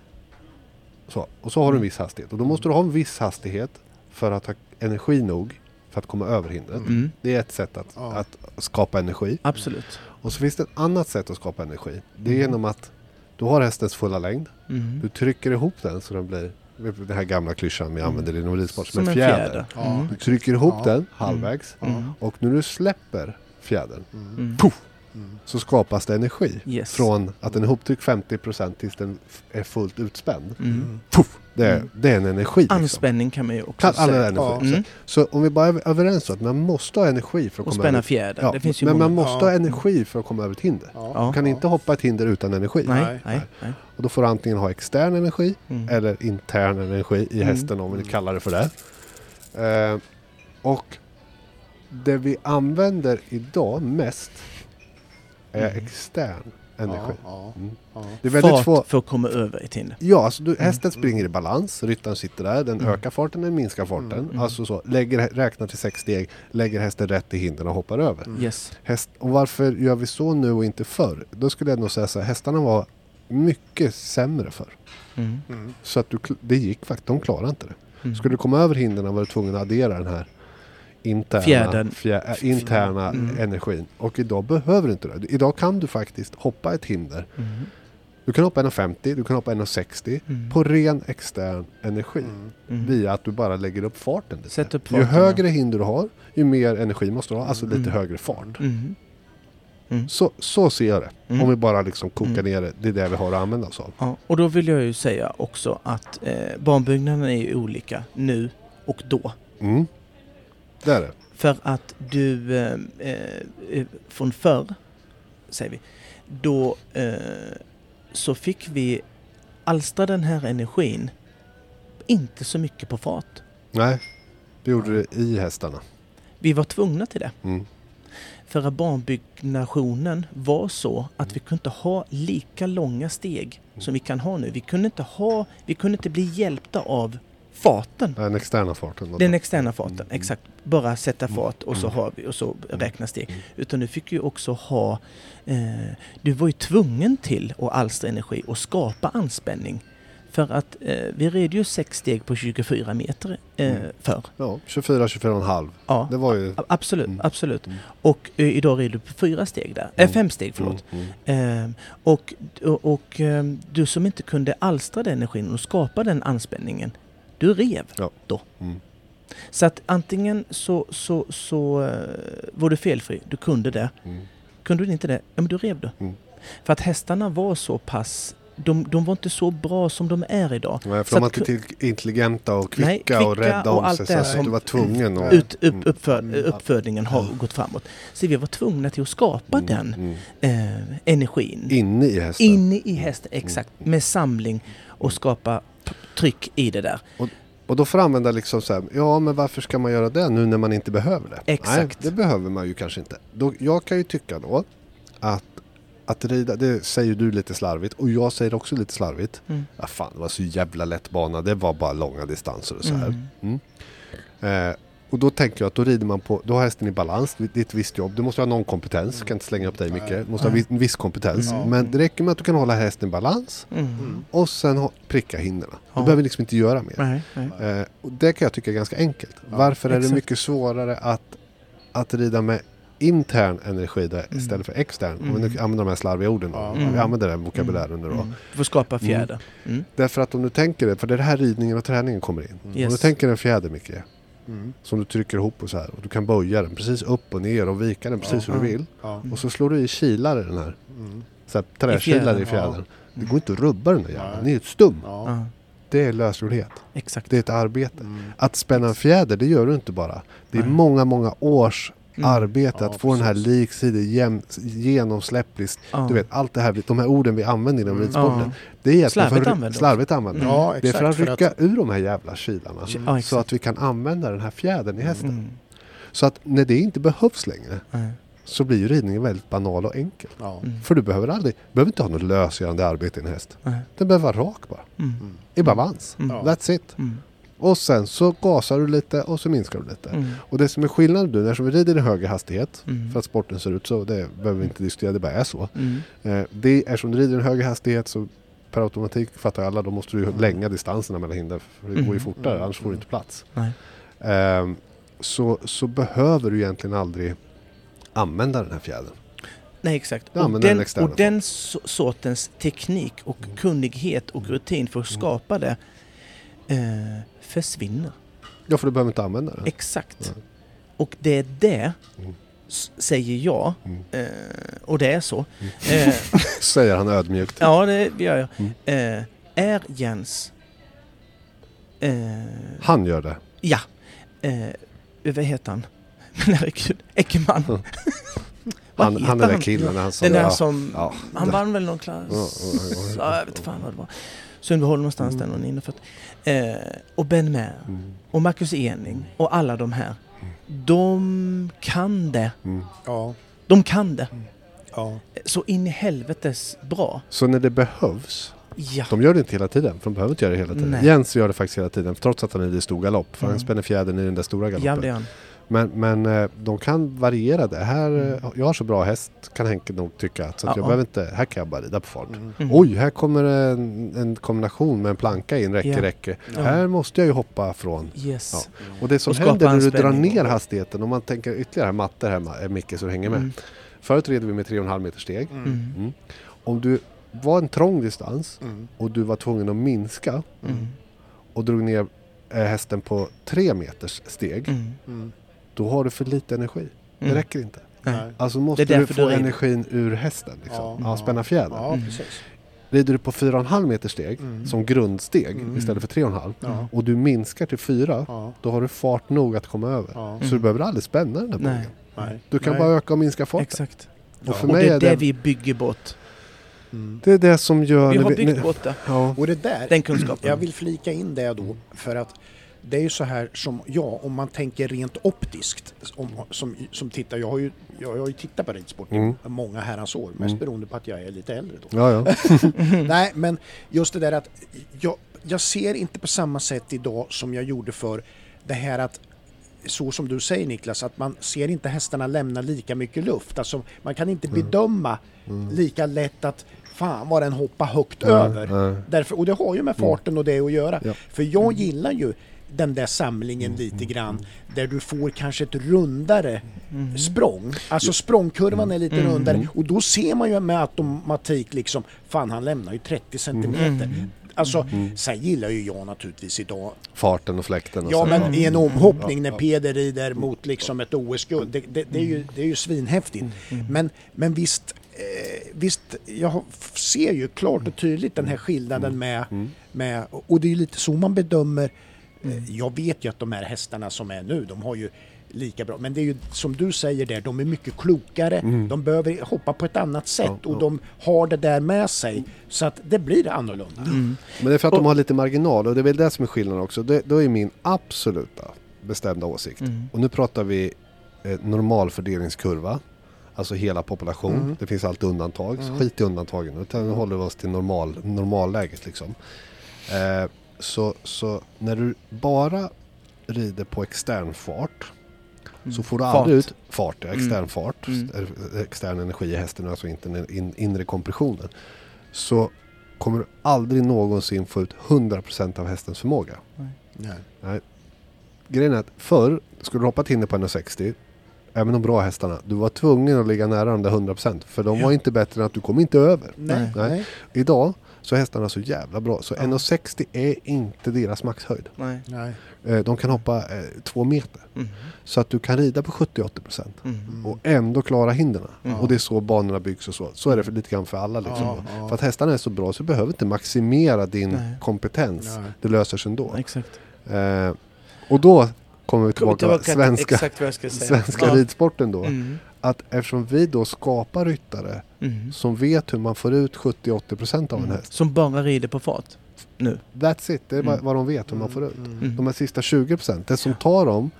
Så, och så har du en viss hastighet. Och då måste du ha en viss hastighet för att ha energi nog för att komma över hindret.
Mm.
Det är ett sätt att,
Ja.
att skapa energi.
Absolut.
Och så finns det ett annat sätt att skapa energi. Det är genom att du har hästens fulla längd.
Mm.
Du trycker ihop den så den blir, den här gamla klyschan vi använder inom ridsport, som,
Mm. Som
en fjäder.
Ja.
Mm.
Du trycker ihop
Ja.
den halvvägs
Mm.
och när du släpper fjädern
Mm.
puff, så skapas det energi.
Yes.
Från att den är ihoptryckt 50% tills den f- är fullt utspänd.
Mm.
Puff, det, är, det är en energi. liksom.
Anspänning kan man ju också
Kan- Alla
säga.
är energi.
Mm.
Så om vi bara är överens om att man måste ha energi för att
Och
komma
spänna
över.
fjäder.
Ja,
det finns ju
men
många.
man måste
Ja.
ha energi för att komma över ett hinder.
Ja.
Ja.
Du kan inte hoppa ett hinder utan energi.
Nej, nej, nej.
Och då får du antingen ha extern energi
Mm.
eller intern energi i hästen om vi nu kallar det för det. Eh, och det vi använder idag mest är extern energi.
Ja.
Mm.
Ja.
Det är väldigt
Mm. Fart Mm.
få...
för att komma över ett hinder.
Ja, alltså du, hästen springer i balans, ryttaren sitter där, den
Mm.
ökar farten, den minskar farten. Alltså så, lägger, räknar till sex steg, lägger hästen rätt i hindren och hoppar över.
Yes.
Häst, och varför gör vi så nu och inte förr? Då skulle jag nog säga så här, hästarna var mycket sämre förr.
Mm.
Så att du, kl- det gick faktiskt, de klarade inte det.
Mm.
Skulle du komma över hindren var du tvungen att addera den här interna,
Fjärden. Mm.
fjä, äh, interna energin. Och idag behöver du inte det. Idag kan du faktiskt hoppa ett hinder.
mm,
Du kan hoppa 1,50, du kan hoppa 1,60 på ren extern energi. Via att du bara lägger upp farten lite.
Mm. Sätt upp
ju
farten, ja.
högre hinder du har, ju mer energi måste du ha. Alltså lite högre fart.
Mm.
Så, så ser jag det. Om vi bara liksom kokar
Mm.
ner det. Det är det vi har att använda oss av.
Ja, och då vill jag ju säga också att eh, barnbyggnaden är ju olika nu och då.
Mm. Det är det.
För att du eh, eh, eh, från förr, säger vi, då eh, så fick vi alstra den här energin inte så mycket på fart.
Nej, vi gjorde det i hästarna.
Vi var tvungna till det.
Mm.
För att barnbyggnationen var så att vi kunde inte ha lika långa steg som vi kan ha nu. Vi kunde inte, ha, vi kunde inte bli hjälpta av farten.
Den externa farten. då.
Den externa farten, exakt. Bara sätta fart och så, har vi, och så räkna steg. Utan du fick ju också ha... Eh, du var ju tvungen till att alstra energi och skapa anspänning. För att eh, vi red ju sex steg på 24 meter eh, förr.
Ja, 24, 24,5.
Ja,
Det var ju...
a- absolut, absolut. Och eh, idag rider du på fyra steg där. Eh, fem steg, förlåt.
Mm.
Eh, och och, och eh, du som inte kunde alstra den energin och skapa den anspänningen, du rev
Ja.
då.
Mm.
Så att antingen så, så, så eh, var du felfri, du kunde det.
Mm.
Kunde du inte det, ja men du rev då.
Mm.
För att hästarna var så pass, de, de var inte så bra som de är idag.
Nej, för
Så
de var
att
inte till- intelligenta och kvicka,
Nej,
och
kvicka
rädda
och
om
allt
sig.
det
Så
här
att
som-
du var tvungen att...
Ut, upp,
Mm.
uppför, uppfödningen har gått framåt. Så vi var tvungna till att skapa den
Mm.
eh, energin.
Inne i hästen.
Inne i hästen,
Mm.
exakt. Med samling och skapa p- tryck i det där.
Och, och då får jag använda liksom så här, ja men varför ska man göra det nu när man inte behöver det?
Exakt.
Nej, det behöver man ju kanske inte. Då, jag kan ju tycka då att, att rida, det säger du lite slarvigt och jag säger också lite slarvigt.
Mm.
Ja, fan, det var så jävla lätt bana, det var bara långa distanser och så här. Mm. Eh, Och då tänker jag att då rider man på, då har hästen i balans, det är ett visst jobb. Du måste ha någon kompetens, du kan inte slänga upp dig mycket. Du måste ha vi- en viss kompetens. Men det räcker med att du kan hålla hästen i balans
Mm.
och sen ha, pricka hinderna. Du behöver liksom inte göra mer.
Nej, nej.
Eh, och det kan jag tycka är ganska enkelt. Varför är det
exakt.
mycket svårare att, att rida med intern energi där,
Mm.
istället för extern? Om vi nu använder de här slarviga orden. då. Vi använder den
Mm.
vokabulären nu då.
Du får skapa fjäder. Mm.
Därför att om du tänker det, för det är det här ridningen och träningen kommer in. Om du
Yes. Mm.
tänker en fjäder Micke, som du trycker ihop och så här. Och du kan böja den precis upp och ner och vika den precis hur du vill.
Ja.
Mm.
Mm.
Och så slår du i kilare i den här. Så här
I
träkilare
fjädern,
i fjädern. Det går inte att rubba den där jäveln. Den är ju ett stum.
Ja,
Det är lösgjordhet.
exakt.
Det är ett arbete.
Mm.
Att spänna en fjäder, det gör du inte bara. Det är många, många års
Mm.
arbete
Ja,
att få den här liksidig, jäm, genomsläpplig.
Ja. Mm.
Du vet, allt det här, de här orden vi använder inom ridsporten.
Ja.
Det är egentligen
Slarvigt
för,
använder
slarvigt använder.
Mm. Ja,
det är för att
exakt, för
rycka
att-
ur de här jävla kilarna.
Ja,
så
exakt. Mm.
att vi kan använda den här fjädern i hästen. Så att när det inte behövs längre
Nej.
så blir ju ridningen väldigt banal och enkel.
Ja.
Mm. För du behöver aldrig, behöver inte ha något lösgörande arbete i en häst.
Nej. Mm.
Den behöver vara rak bara. I balans. That's it. Och sen så gasar du lite och så minskar du lite.
Mm.
Och det som är skillnaden nu, när vi rider i högre hastighet, för att sporten ser ut så, det behöver vi inte diskutera, det bara är så.
Mm.
Eh, det, eftersom du rider i en högre hastighet så per automatik fattar ju alla, då måste du
Mm.
ju länga distanserna mellan hinder, för det går ju fortare, annars får du inte plats.
Nej.
Ehm, så, så behöver du egentligen aldrig använda den här fjädern.
Nej, exakt.
Ja,
Och
men den
den,
externa
och den so- sortens teknik och
Mm.
kunnighet och rutin för att skapa det eh, försvinner.
Ja, för du behöver inte använda den.
Exakt. Och det är det, s- säger jag,
Mm.
eh, och det är så, eh,
Säger han ödmjukt.
ja det gör jag,
Mm.
eh, är Jens, eh,
Han gör det.
ja, eh, vad heter han? *laughs* Men herregud, Eckermann. *laughs* Vad
Han,
heter
Mm. han är den där killen när han sa
Den där
ja,
som...
ja, Mm,
Han
det-
vann väl någon klass...
Ja, ja, ja, ja.
Ja, jag vet fan vad det var. Sundbyholm någonstans
Mm.
där, någon innanför. Eh, och Ben Mer och Marcus Ening och alla de här. De kan det.
mm.
Ja.
De kan det.
Ja.
Så in i helvetes bra.
Så när det behövs.
Ja.
De gör det inte hela tiden. För de behöver inte göra det hela tiden.
Nej. Mm.
Jens gör det faktiskt hela tiden. Trots att han är i stor galopp. För han spänner fjädern i den där stora
Ja,
galoppen.
det är han.
men, men eh, de kan variera det. Här, eh, Jag har så bra häst kan Henke nog tycka. Så
Mm.
att jag
Ja. Mm.
behöver inte. Här kan jag bara rida på fart. Oj, här kommer en, en kombination med en planka in. Räcke,
Ja.
räcke. Här måste jag ju hoppa från.
Yes.
Ja. Och det som
Och skapa
händer när du drar
anspänning.
ner hastigheten, om man tänker ytterligare här, matte här Ma- eh, Micke så du hänger med.
Mm.
Förut red vi med 3,5 meter steg. Mm. Om du var en trång distans
Mm.
och du var tvungen att minska och drog ner eh, hästen på 3 meters steg,
Mm.
då har du för lite energi. Det
Mm.
räcker inte.
Nej.
Alltså måste
Det är
du
därför
få
du rider.
energin ur hästen. Liksom.
Ja.
Ja, spänna fjädern.
Ja, precis.
Rider du på 4,5 meter steg
Mm.
som grundsteg istället för 3,5 och du minskar till 4
Ja.
då har du fart nog att komma över.
Ja.
Så du behöver aldrig spänna den där
Mm. Nej.
bågen.
Nej.
Du kan
Nej.
bara öka och minska farten.
Exakt.
Och för
Och
mig
det
är
är det
det,
vi bygger bort.
det är det som gör...
Vi
när
har byggt
när-
bort det.
Ja.
Och det där,
Den kunskapen.
jag vill flika in det då, för att det är ju så här som jag, om man tänker rent optiskt, om, som, som tittar, jag har ju, jag, har ju tittat på ridsport i
Mm.
många herrans år, mest beroende på att jag är lite äldre då.
Ja, ja.
*laughs* Nej, men just det där att jag, jag ser inte på samma sätt idag som jag gjorde för det här att så som du säger Niklas, att man ser inte hästarna lämna lika mycket luft. Alltså, man kan inte bedöma lika lätt att fan vad den hoppar högt över. Därför, och det har ju med farten och det att göra.
Ja.
För jag gillar ju den där samlingen lite grann där du får kanske ett rundare språng. Alltså språngkurvan är lite rundare och då ser man ju med automatik liksom, fan han lämnar ju 30 centimeter. Alltså, sen gillar ju jag naturligtvis idag
Farten och fläkten. Och
Ja,
så. Mm.
men i en omhoppning när Peder rider mot liksom ett OS-guld, det, det, det, är ju, det är ju svinhäftigt. Men, men visst, eh, visst, jag har- f- ser ju klart och tydligt den här skillnaden med, med och det är ju lite så man bedömer, eh, jag vet ju att de här hästarna som är nu, de har ju lika bra, men det är ju som du säger där, de är mycket klokare, de behöver hoppa på ett annat sätt och de har det där med sig så att det blir annorlunda.
Men det är för att de har lite marginal och det är väl det som är skillnaden också. Det, då är min absoluta bestämda åsikt.
Mm.
Och nu pratar vi eh, normalfördelningskurva. Alltså hela population.
Mm.
Det finns alltid undantag. Så skit i undantagen. Utan nu håller vi oss till normal, normalläget liksom. Eh, så, så när du bara rider på extern fart så
Mm.
får du
Fart.
aldrig ut fart, ja, extern
Mm.
fart,
Mm.
eh, extern energi i hästen, alltså inte den in, inre kompressionen. Så kommer du aldrig någonsin få ut 100% av hästens förmåga.
Nej.
Grejen är att förr, skulle du hoppat in på 160, även de bra hästarna, du var tvungen att ligga nära de där 100% för de var inte bättre än att du kom inte över.
Nej.
Nej.
Nej.
Idag så är hästarna så jävla bra, så
Ja.
1,60 är inte deras maxhöjd.
Nej.
Nej.
Eh, De kan hoppa eh, två meter.
Mm.
Så att du kan rida på 70-80%
Mm.
och ändå klara hindren.
Ja.
Och det är så banorna byggs och så. Så är det för, lite grann för alla. Liksom.
Ja, ja.
För att hästarna är så bra så du behöver inte maximera din
Nej.
kompetens.
Nej.
Det löser sig ändå.
Exakt.
Eh, och då kommer
Kommer
vi tillbaka till
till
svenska,
exakt vad jag ska säga.
svenska
Ja.
ridsporten då.
Mm.
Att eftersom vi då skapar ryttare
Mm.
som vet hur man får ut 70-80% av en häst.
Som bara rider på fart nu.
That's it, det är
Mm.
vad de vet hur man får ut.
Mm.
De här sista 20 procenten som tar dem,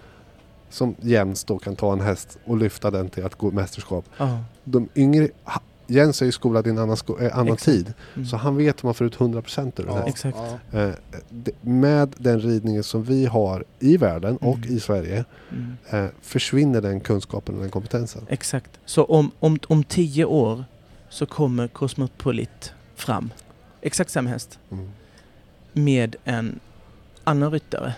som Jens då kan ta en häst och lyfta den till att gå mästerskap.
Ja.
De yngre, ha- Jens är ju skolad i en annan, sko, eh, annan
Exakt.
tid,
Mm.
så han vet hur man får ut 100 procent ur en
Ja,
häst.
Exakt.
ja.
Eh, d- med den ridningen som vi har i världen och
Mm.
i Sverige
Mm.
eh, försvinner den kunskapen och den kompetensen.
Exakt. Så om, om, om tio år så kommer Cosmopolit fram. Exakt samma häst.
Mm.
Med en annan ryttare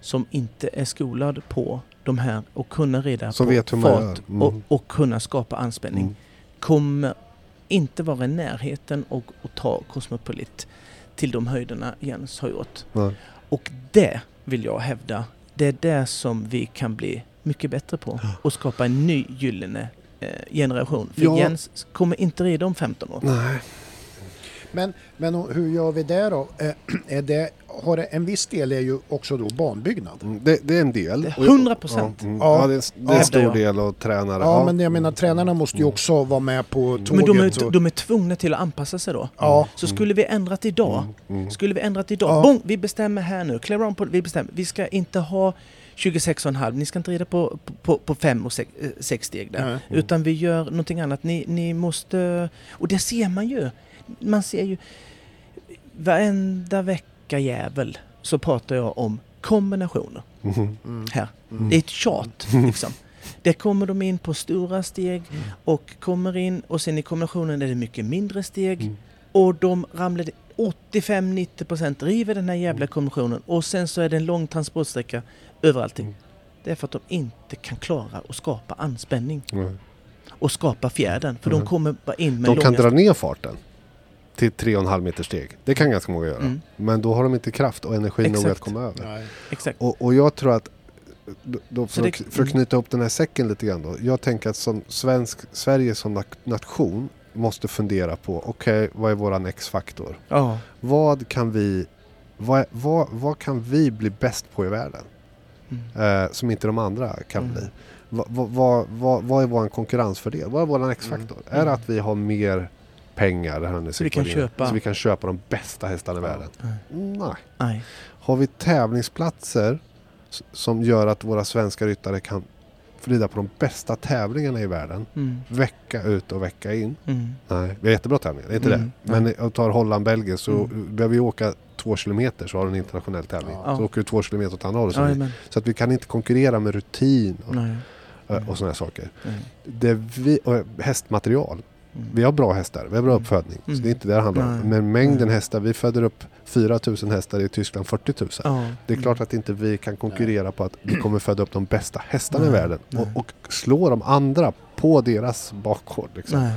som inte är skolad på de här och kunna rida
Som
på
vet hur man gör.
fart
Mm.
och, och kunna skapa anspänning.
Mm.
Kommer inte vara i närheten och, och ta Cosmopolit till de höjderna Jens har gjort.
Nej.
Och det vill jag hävda, det är det som vi kan bli mycket bättre
*gasps*
på och skapa en ny gyllene eh, generation. För
Ja.
Jens kommer inte rida om 15 år.
Nej.
Men, men hur gör vi det då? Eh, *clears throat* Är det, har det, en viss del är ju också då banbyggnad.
Mm, Det, det är en del.
Det är
Och jag-
100%.
Ja, mm.
Ja.
ja, det är, det är
Ja.
en stor del och tränare. Mm.
Ja, men jag menar tränarna måste ju också vara med på tåget.
Men de är,
och-
de är tvungna till att anpassa sig då.
Ja.
Så skulle vi ändrat idag,
Mm. Mm.
skulle vi ändrat idag,
Mm. Ja.
bong, vi bestämmer här nu, clear on, på, vi bestämmer, vi ska inte ha 26,5, ni ska inte rida på 5 på, på fem och 6 steg där.
Nej. Mm.
Utan vi gör någonting annat. Ni, ni måste... Och det ser man ju. Man ser ju... Varenda vecka jävel så pratar jag om kombinationer
Mm.
Mm.
här.
Mm.
Det är ett tjat liksom. Det kommer de in på stora steg och kommer in och sen i kombinationen är det mycket mindre steg.
Mm.
Och de ramlar 85-90% river den här jävla kombinationen och sen så är det en lång transportsträcka över allting.
Mm.
Det är för att de inte kan klara att skapa anspänning
Mm.
och skapa fjädern. För de
Mm.
kommer bara in med
De kan
långa...
dra ner farten till 3,5 meter steg. Det kan ganska många göra.
Mm.
Men då har de inte kraft och energi nog
Exakt.
att komma över.
Nej.
Exakt.
Och, och jag tror att, då- då
Så
för, att,
det-
för att knyta upp den här säcken lite grann då. Jag tänker att som svensk, Sverige som na- nation måste fundera på, okej vad är våran X-faktor?
Ja.
Vad kan vi, vad, vad, vad kan vi bli bäst på i världen? Eh, som inte de andra kan
Mm.
bli. Va- va- va- va- vad är vår konkurrensfördel? Vad är vår X-faktor? Är det att vi har mer pengar det här nu,
Mm. Så vi kan
Sigvard,
köpa-
så vi kan köpa de bästa hästarna i
Ja.
världen? Nej.
Nej.
Har vi tävlingsplatser s- som gör att våra svenska ryttare kan rida på de bästa tävlingarna i världen
Mm.
vecka ut och vecka in?
Mm.
Nej, vi har jättebra tävlingar, det är inte
Mm.
det. Men jag tar Holland, Belgien så behöver vi åka två kilometer så har du en internationell tävling.
Ja.
Så åker du två kilometer åt andra hållet. så
Ja,
är det
men,
så att vi kan inte konkurrera med rutin och,
nej.
och sådana här saker.
nej.
Det vi, och hästmaterial.
Mm.
Vi har bra hästar, vi har bra uppfödning. Så
Mm.
det är inte det det handlar
Nej.
om. Men mängden
Nej.
hästar, vi föder upp 4000 hästar i Tyskland 40 000.
Ja.
Det är klart att inte vi kan konkurrera på att vi kommer föda upp de bästa hästarna i
Nej.
världen
Nej.
och, och slå de andra på deras bakgård. Liksom.
Nej,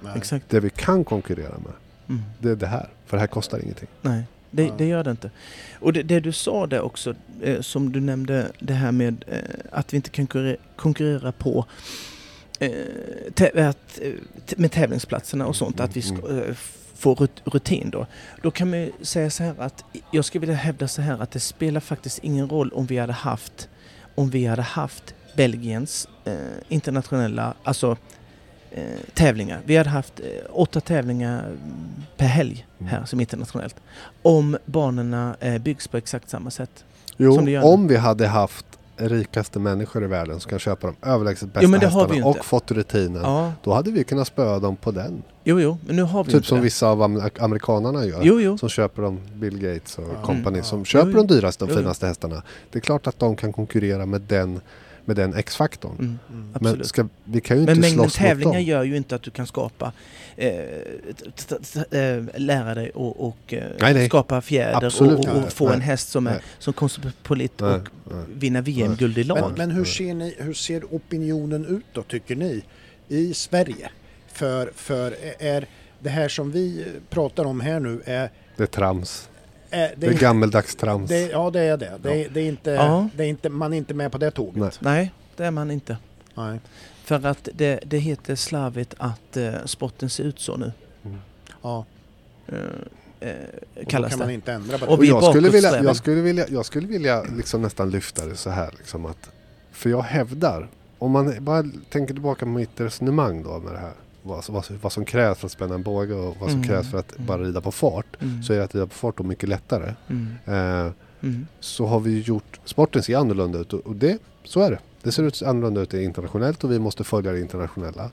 Nej.
exakt.
Det vi kan konkurrera med,
Mm.
det är det här. För det här kostar ingenting.
Nej, det,
Ja.
det gör det inte. Och det, det du sa där också, eh, som du nämnde, det här med eh, att vi inte kan konkurre- konkurrera på eh, tä- att, eh, t- med tävlingsplatserna och sånt, att vi ska, eh, får rut- rutin då. Då kan man ju säga så här att jag skulle vilja hävda så här att det spelar faktiskt ingen roll om vi hade haft om vi hade haft Belgiens eh, internationella alltså, eh, tävlingar. Vi hade haft eh, åtta tävlingar mm, per helg här
Mm.
som internationellt. Om banorna eh, byggs på exakt samma sätt.
Jo,
Som det gör nu.
om vi hade haft rikaste människor i världen som kan köpa de överlägset bästa
Jo, men det har vi
hästarna
ju inte.
och fått rutinen.
Ja,
Då hade vi kunnat spöa dem på den.
jo, jo, men nu har vi
Typ
inte
som
det.
vissa av am- amerikanarna gör.
Jo, jo.
Som köper de Bill Gates och
Ja.
company
Mm.
som köper de dyraste och
Jo, jo.
finaste hästarna. Det är klart att de kan konkurrera med den, med den X-faktorn.
Mm,
Mm.
Men
absolut.
ska, vi kan ju
Men,
inte
mängden
slåss mot
tävlingar
dem.
gör ju inte att du kan skapa, eh, t- t- t- eh, lära dig och, och eh,
Nej, nej.
skapa fjäder
Absolut
och, och,
inte.
och få
Nej.
en häst som, är,
Nej.
som konstpolit
Nej,
och
nej.
vinna VM-guld i
Men,
lag.
men hur, ser ni, hur ser opinionen ut då, tycker ni, i Sverige? För, för eh, är det här som vi pratar om här nu, är,
Det är trams.
är
Det är
det,
gammeldags trams.
det, ja det är det. det, det, är inte,
Ja.
det är inte, man är inte med på det tåget.
Nej.
Nej, det är man inte.
Nej.
För att det, det heter slarvigt att eh, sporten ser ut så nu.
Ja,
Eh, eh,
och då
kallas
kan man
det.
inte ändra på
Och
det.
Och
vi är
jag skulle vilja,
bakåtsträvande.
jag skulle vilja, jag skulle vilja liksom nästan lyfta det så här. Liksom att, för jag hävdar, om man bara tänker tillbaka på mitt resonemang då med det här. Vad, vad, vad som krävs för att spänna en båge och vad som
Mm.
krävs för att
Mm.
bara rida på fart.
Mm,
Så är det att rida på fart då mycket lättare.
mm,
Eh,
mm,
så har vi ju gjort, sporten ser annorlunda ut och, och det, så är det. Det ser ut annorlunda ut internationellt och vi måste följa det internationella.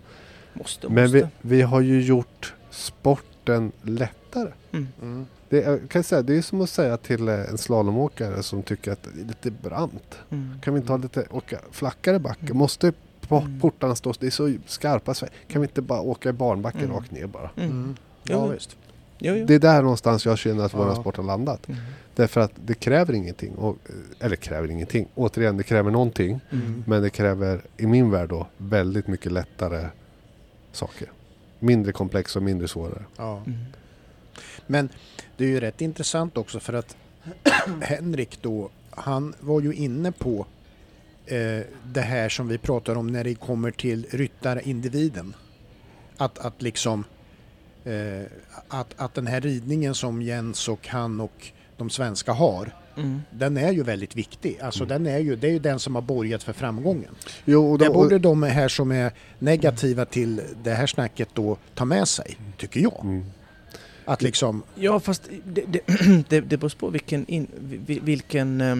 måste, måste.
Men vi, vi har ju gjort sporten lättare.
Mm.
Mm.
Det, är- jag kan säga, det är som att säga till eh, en slalomåkare som tycker att det är lite brant.
Mm.
Kan vi inte ha lite åka flackare backe?
Mm.
Måste po-
Mm.
portarna stå? Det är så skarpa svängar. Kan vi inte bara åka i barnbacken
Mm.
rakt ner bara?
Mm.
Mm.
Jo,
Ja,
jo.
visst.
Jo, jo.
Det är där någonstans jag känner att vår
Ja.
sport har landat.
Mm.
Därför att det kräver ingenting. Och, eh, eller kräver ingenting. Återigen, det kräver någonting.
Mm.
Men det kräver, i min värld då, väldigt mycket lättare saker. Mindre komplexa och mindre svårare.
Ja.
Mm.
Men det är ju rätt intressant också för att *clears throat* Henrik då, han var ju inne på eh, det här som vi pratar om när det kommer till ryttarindividen. Att, att liksom eh, att, att den här ridningen som Jens och han och de svenska har,
Mm.
den är ju väldigt viktig. Alltså den är ju, det är ju den som har borgat för framgången.
Jo, och
Det
då, och,
borde de här som är negativa till det här snacket då ta med sig, tycker jag.
mm.
Att liksom,
Ja, fast det, det, *clears throat* det, det beror på vilken, in, vi- vilken eh,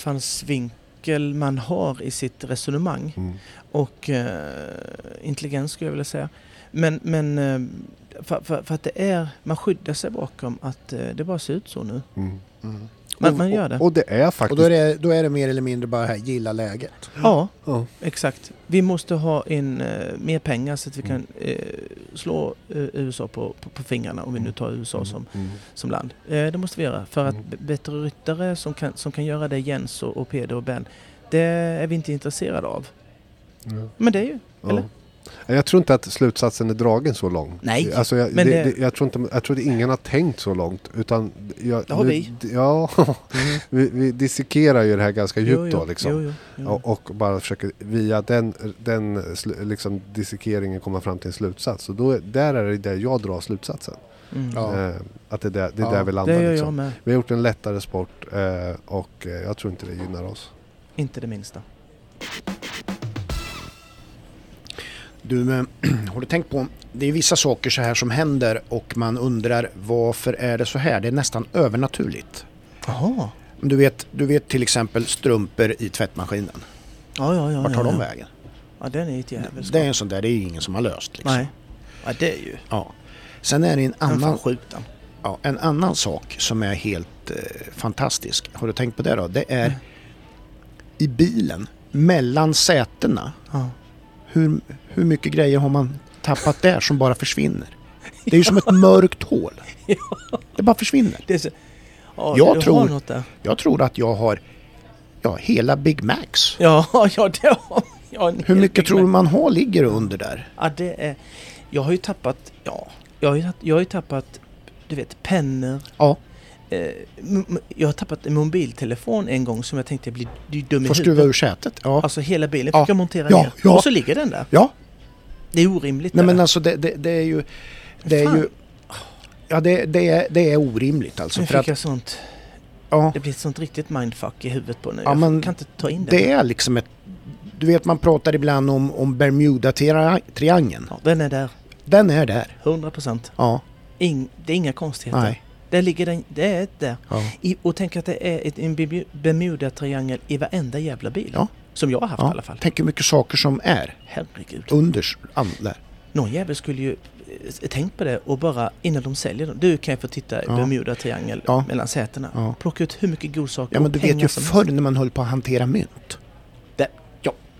infallsvinkel man har i sitt resonemang
Mm.
och eh, intelligens skulle jag vilja säga. Men, men eh, för, för, för att det är, man skyddar sig bakom att eh, det bara ser ut så nu.
Mm.
mm.
Man,
och,
man gör det.
Och, och det är faktiskt...
Och då är, det, då är det mer eller mindre bara här, gilla läget.
ja,
Ja.
exakt. Vi måste ha in eh, mer pengar så att vi kan eh, slå eh, USA på, på, på fingrarna om vi nu tar USA som
Mm.
som land. Eh, det måste vi göra. För att
Mm.
b- bättre ryttare som kan, som kan göra det, Jens och, och Peder och Ben, det är vi inte intresserade av.
Ja.
Men det är ju... Eller?
Ja. Jag tror inte att slutsatsen är dragen så långt.
Nej,
Alltså jag,
men
det,
det-
det, jag, tror inte, jag tror att ingen har tänkt så långt. Utan jag,
Det har
nu-
vi. Mm.
d- Ja, *laughs* vi, vi dissekerar ju det här ganska djupt då. Liksom.
Jo, jo, jo.
Och, och bara försöker via den, den sl- liksom, dissekeringen komma fram till en slutsats. Och då, är- där är det där jag drar slutsatsen.
Mm.
Ja.
Eh, att det är där, det är
Ja,
där vi
Det
landar.
gör jag
liksom.
med.
Vi har gjort en lättare sport eh, och eh, jag tror inte det gynnar oss.
Inte det minsta.
Du, eh, *clears throat* har du tänkt på, det är vissa saker så här som händer och man undrar varför är det så här? Det är nästan övernaturligt.
Jaha.
Du vet, du vet till exempel strumpor i tvättmaskinen.
Ja, ja, ja.
Vart tar
ja,
de
ja.
vägen?
ja, den är ju ett jävelskap.
Det är en sån där, det är ju ingen som har löst. Liksom.
Nej. Ja, det är ju...
Ja. Sen är det en
Den
annan,
får skjuta.
ja, en annan sak som är helt eh, fantastisk. Har du tänkt på det då? Det är i bilen, mellan sätena,
Ja.
hur, hur mycket grejer har man tappat där som bara försvinner? Det är ju som ett mörkt hål. Det bara försvinner.
Det är så... Ja,
Jag
du
tror-
Har något där.
Jag tror att jag har ja, hela Big Macs.
*laughs* Ja, ja, det har jag.
Hur mycket tror du man har ligger under där?
Ja, det är... Jag har ju tappat... Ja. Jag har ju, tapp- jag har ju tappat, du vet, pennor.
Ja,
Eh, m- m- jag har tappat en mobiltelefon en gång som jag tänkte jag blir du är dum i
får
huvudet.
skruva ur sätet. Ja,
Alltså hela bilen
Ja.
fick jag montera
Ja,
ner.
ja.
Och så ligger den där.
ja.
Det är orimligt.
Nej,
det
men
där.
alltså det, det, det är ju... Det är
äh. Fan.
ju ja, det, det, är, det är orimligt alltså.
nu
För
fick
att,
jag sånt.
ja,
Det blir ett sånt riktigt mindfuck i huvudet på nu.
Ja,
jag
men
kan inte ta in det.
det är liksom ett... Du vet, man pratar ibland om, om Bermuda-triangeln.
Ja, den är där.
Den är där.
100 procent.
Ja,
Det är inga konstigheter.
nej.
Där ligger den, det är ett där.
Ja.
I, och tänk att det är ett, en Bermu- Bermuda-triangel i varenda jävla bil.
Ja.
Som jag har haft i alla
Ja.
fall.
Tänk hur mycket saker som är
Herregud.
under an- där.
Någon jävel skulle ju eh, tänkt på det och bara innan de säljer dem. Du kan ju få titta i
Ja.
Bermuda-triangel
Ja.
mellan sätena.
Ja.
Plocka ut hur mycket godsaker
Ja men du
och pengar
vet ju
som
förr när man höll på att hantera mynt.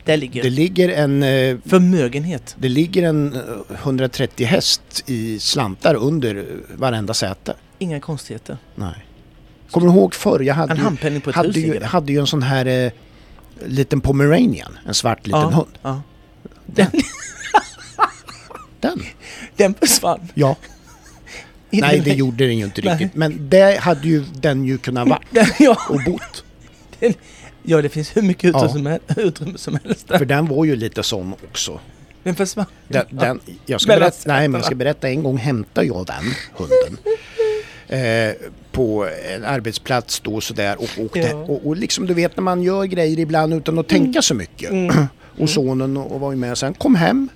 Där ligger
Det ligger en, eh,
förmögenhet.
det ligger en eh, 130 häst i slantar under eh, varenda säte.
Inga konstigheter.
Nej. Kommer du ihåg förr? Jag hade
En
ju-
handpenning på ett hus
hade
ligger
ju,
där.
hade ju en sån här eh, liten pomeranian, en svart liten
ja,
hund.
Ja.
Den. den?
Den försvann. *laughs*
Ja.
I
Nej,
den-
det gjorde den ju inte
Nej.
riktigt. Men det hade ju den ju
*laughs*
kunnat vara
ja,
och bott.
den, ja, det finns hur mycket utrymme,
Ja.
som, helst, *laughs* utrymme som helst. Där.
För den var ju lite sån också.
Den försvann.
Den, den, jag, ska
Mellan
berätta, nej, men
sätena.
jag ska berätta, en gång hämtade jag den
*laughs*
hunden. Eh, på en arbetsplats då sådär och åkte.
Ja. Mm.
Och, och liksom du vet när man gör grejer ibland utan att tänka så mycket. *clears throat* och sonen och, och var ju med sen, kom hem.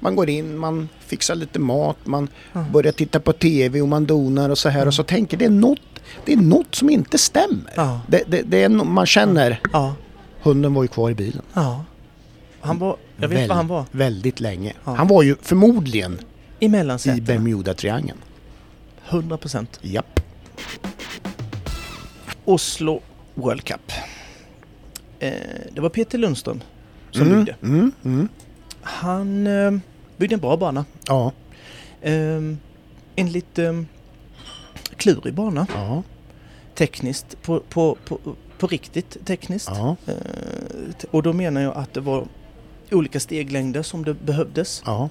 Man går in, man fixar lite mat, man börjar titta på TV och man donar och så här och så tänker det är något, det är något som inte stämmer.
Mm. Ja.
Det, det, det är no- man känner,
Ja,
hunden var ju kvar i bilen.
ja. Han var, jag vet
Väl-
var han var.
Väldigt länge.
Ja.
Han var ju förmodligen
I
i
mellansätena.
Bermuda-triangeln.
100 procent.
Japp.
Oslo World Cup. Eh, det var Peter Lundström som
Mm.
byggde. Han eh, byggde en bra bana.
Ja.
Eh, en lite eh, klurig bana
Ja.
tekniskt. På, på, på, på riktigt tekniskt.
Ja.
Eh, t- och då menar jag att det var olika steglängder som det behövdes.
Ja.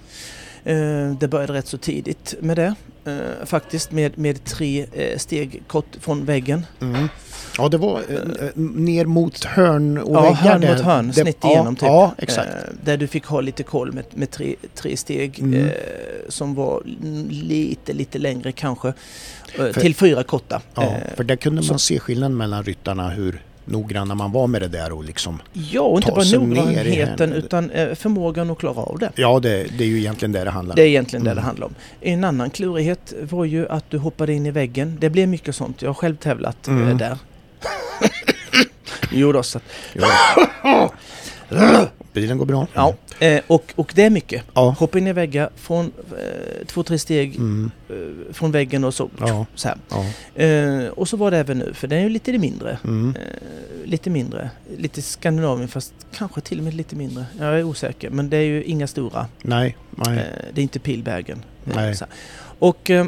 Eh, det började rätt så tidigt med det. Eh, faktiskt med, med tre eh, steg kort från väggen.
Mm. Ja, det var eh, eh, ner mot hörn och
Ja,
väggar.
hörn
där.
mot hörn,
Det-
snitt
ja,
igenom typ.
Ja, exakt.
Eh, där du fick ha lite koll med, med tre, tre steg
Mm.
eh, som var n- lite, lite längre kanske. Eh,
För-
till fyra korta.
Ja,
Eh,
för där kunde
så-
man se skillnaden mellan ryttarna hur noggranna man var med det där och liksom...
ja, och inte
ta
bara
sig ner i
noggrannheten
hörnet.
utan eh, förmågan att klara av det.
Ja, det, det är ju egentligen det det handlar om.
Det är egentligen det det
Mm.
handlar om. En annan klurighet var ju att du hoppade in i väggen. Det blev mycket sånt. Jag har själv tävlat eh,
Mm.
där. *laughs* jo då, så att,
Bilen går bra.
ja. Eh, och, och det är mycket.
Ja.
Hoppa in i väggar från eh, två, tre steg
Mm.
eh, från väggen och så.
Ja.
så här.
Ja.
Eh, och så var det även nu, för den är ju lite mindre.
Mm.
Eh, lite mindre. Lite Skandinavien, fast kanske till och med lite mindre. Jag är osäker, men det är ju inga stora.
Nej, nej.
Eh, det är inte Pilbergen. Eh,
Nej.
så här. Och, eh,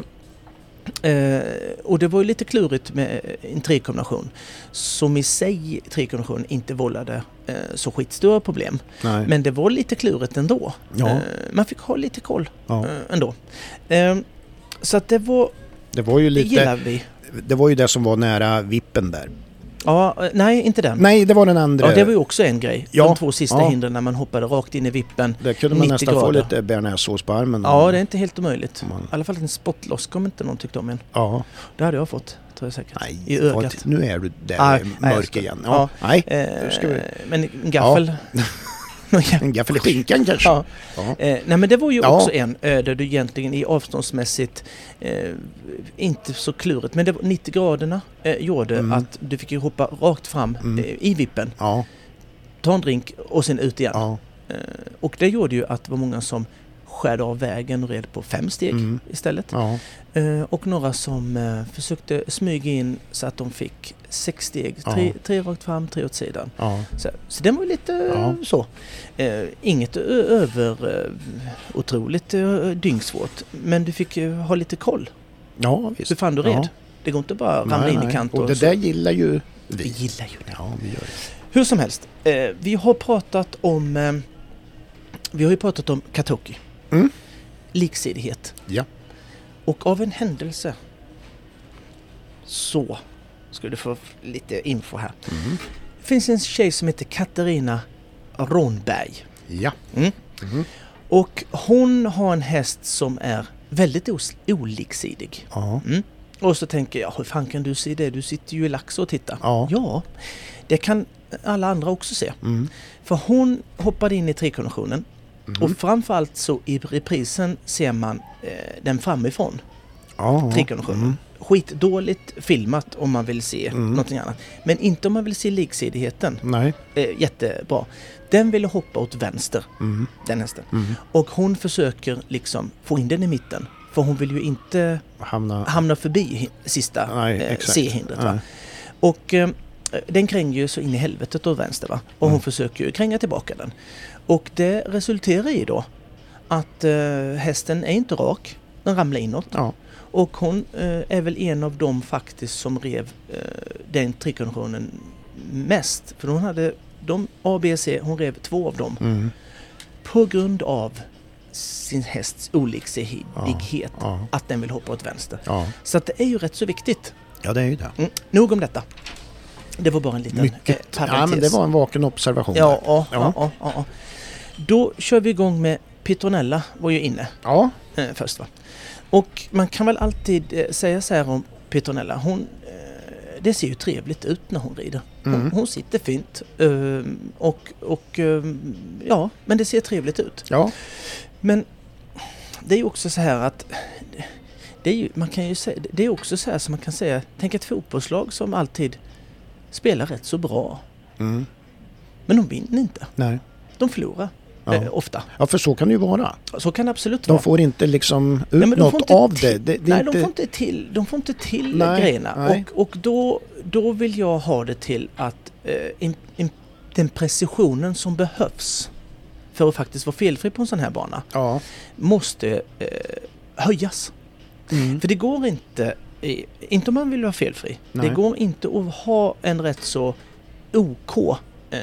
eh, och det var ju lite klurigt med eh, en trekombination. Som i sig, trekombinationen, inte vållade eh, så skitstora problem.
nej.
Men det var lite klurigt ändå.
Ja.
Eh, man fick ha lite koll
Ja.
eh, ändå. Eh, så att det var,
Det var ju
det
lite...
gillar vi.
Det var ju det som var nära vippen där.
Ja, eh, nej, inte den.
Nej, det var den andra.
Ja, det var ju också en grej. De
Ja,
två sista
ja.
hindren när man hoppade rakt in i vippen.
Där kunde man
90
nästan få
grader.
lite bearnaisesås på armen.
Ja, det är inte helt omöjligt.
Man-
I alla fall en spottloss kom inte någon tyckte om en.
Ja.
Det hade jag fått, tror jag säkert.
Nej,
I
vad-
ögat.
nu är du där
Ah,
i
nej, jag
mörk
ska-
igen. Ja, Nej, nu ska vi...
Eh, Men en gaffel. *laughs* Någon gaffel.
En gaffel i skinkan kanske?
Ja.
*laughs* Ja.
Eh, nej men det var ju
Ja.
också en eh, där du egentligen i avståndsmässigt eh, inte så klurigt men det var 90 graderna eh, gjorde
Mm.
att du fick ju hoppa rakt fram
Mm.
eh, i vippen,
Ja,
ta en drink och sen ut igen.
ja.
Eh, och det gjorde ju att det var många som skärde av vägen och red på fem steg
Mm.
istället.
ja.
Eh, och några som eh, försökte smyga in så att de fick sex steg,
Ja.
tre, tre rakt fram, tre åt sidan.
ja.
Så, så den var ju lite eh, så. Eh, inget ö- över eh, otroligt eh, dyngsvårt. Men du fick ju ha lite koll.
ja visst.
Så fan du red.
Ja.
Det går inte bara att ramla
Nej,
in i
nej.
kant.
Och, det
så.
där gillar ju
Vi
vi.
gillar ju det.
Ja, vi gör det.
Hur som helst. Eh, vi har pratat om... Eh, vi har ju pratat om Katoki.
Mm.
Liksidighet.
Ja.
Och av en händelse så ska du få lite info här.
Mm.
Det finns en tjej som heter Katarina Ronberg.
Ja.
Och hon har en häst som är väldigt os- oliksidig.
Ja.
Och så tänker jag, hur fan kan du se det? Du sitter ju i lax och tittar.
Ja.
det kan alla andra också se.
Mm.
För hon hoppade in i trekonventionen. Och framförallt så i reprisen ser man eh, den framifrån,
Ja.
trekonventionen. skitdåligt filmat om man vill se någonting annat. Men inte om man vill se liksidigheten.
Nej.
Eh, jättebra. Den ville hoppa åt vänster,
Mm,
den hästen. Och hon försöker liksom få in den i mitten. För hon vill ju inte
Hamna...
hamna förbi hi- sista
Nej,
eh,
exakt.
C-hindret. Va?
Nej.
Och eh, den kränger ju så in i helvetet åt vänster va? Och
Mm.
hon försöker ju kränga tillbaka den. Och det resulterar i då att eh, hästen är inte rak, den ramlar inåt.
Ja.
Och hon eh, är väl en av dem faktiskt som rev eh, den trikonditionen mest. För hon hade de A, B, C, hon rev två av dem.
Mm.
På grund av sin hästs oliksidighet.
Ja.
Att den vill hoppa åt vänster.
Ja.
Så att det är ju rätt så viktigt.
ja, det är ju det.
Mm. Nog om detta. Det var bara en liten eh,
Mycket.
parentes.
Ja, men det var en vaken observation.
Ja,
där.
ja, ja.
Ja.
ja, ja, Då kör vi igång med Petronella var ju inne
ja.
eh, först va. Och man kan väl alltid eh, säga så här om Petronella. Hon, eh, det ser ju trevligt ut när hon rider. Hon,
Mm.
hon sitter fint. eh, och, och eh, ja, men det ser trevligt ut.
ja.
Men det är ju också så här att det är ju, man kan ju säga, det är också så här som man kan säga, tänk ett fotbollslag som alltid spelar rätt så bra.
Mm.
Men de vinner inte,
Nej.
de förlorar
Ja.
eh, ofta.
Ja, för så kan det ju vara.
Så kan det absolut
De
vara.
får inte liksom ut
Nej, men de får
något
inte
av
till-
det. det, det är
Nej, de
inte-
får inte till, de får inte till
Nej,
grejerna.
nej.
Och, och då, då vill jag ha det till att eh, in, in, den precisionen som behövs för att faktiskt vara felfri på en sån här bana
Ja.
måste eh, höjas.
Mm.
För det går inte, i- inte om man vill vara felfri,
Nej.
det går inte att ha en rätt så OK eh,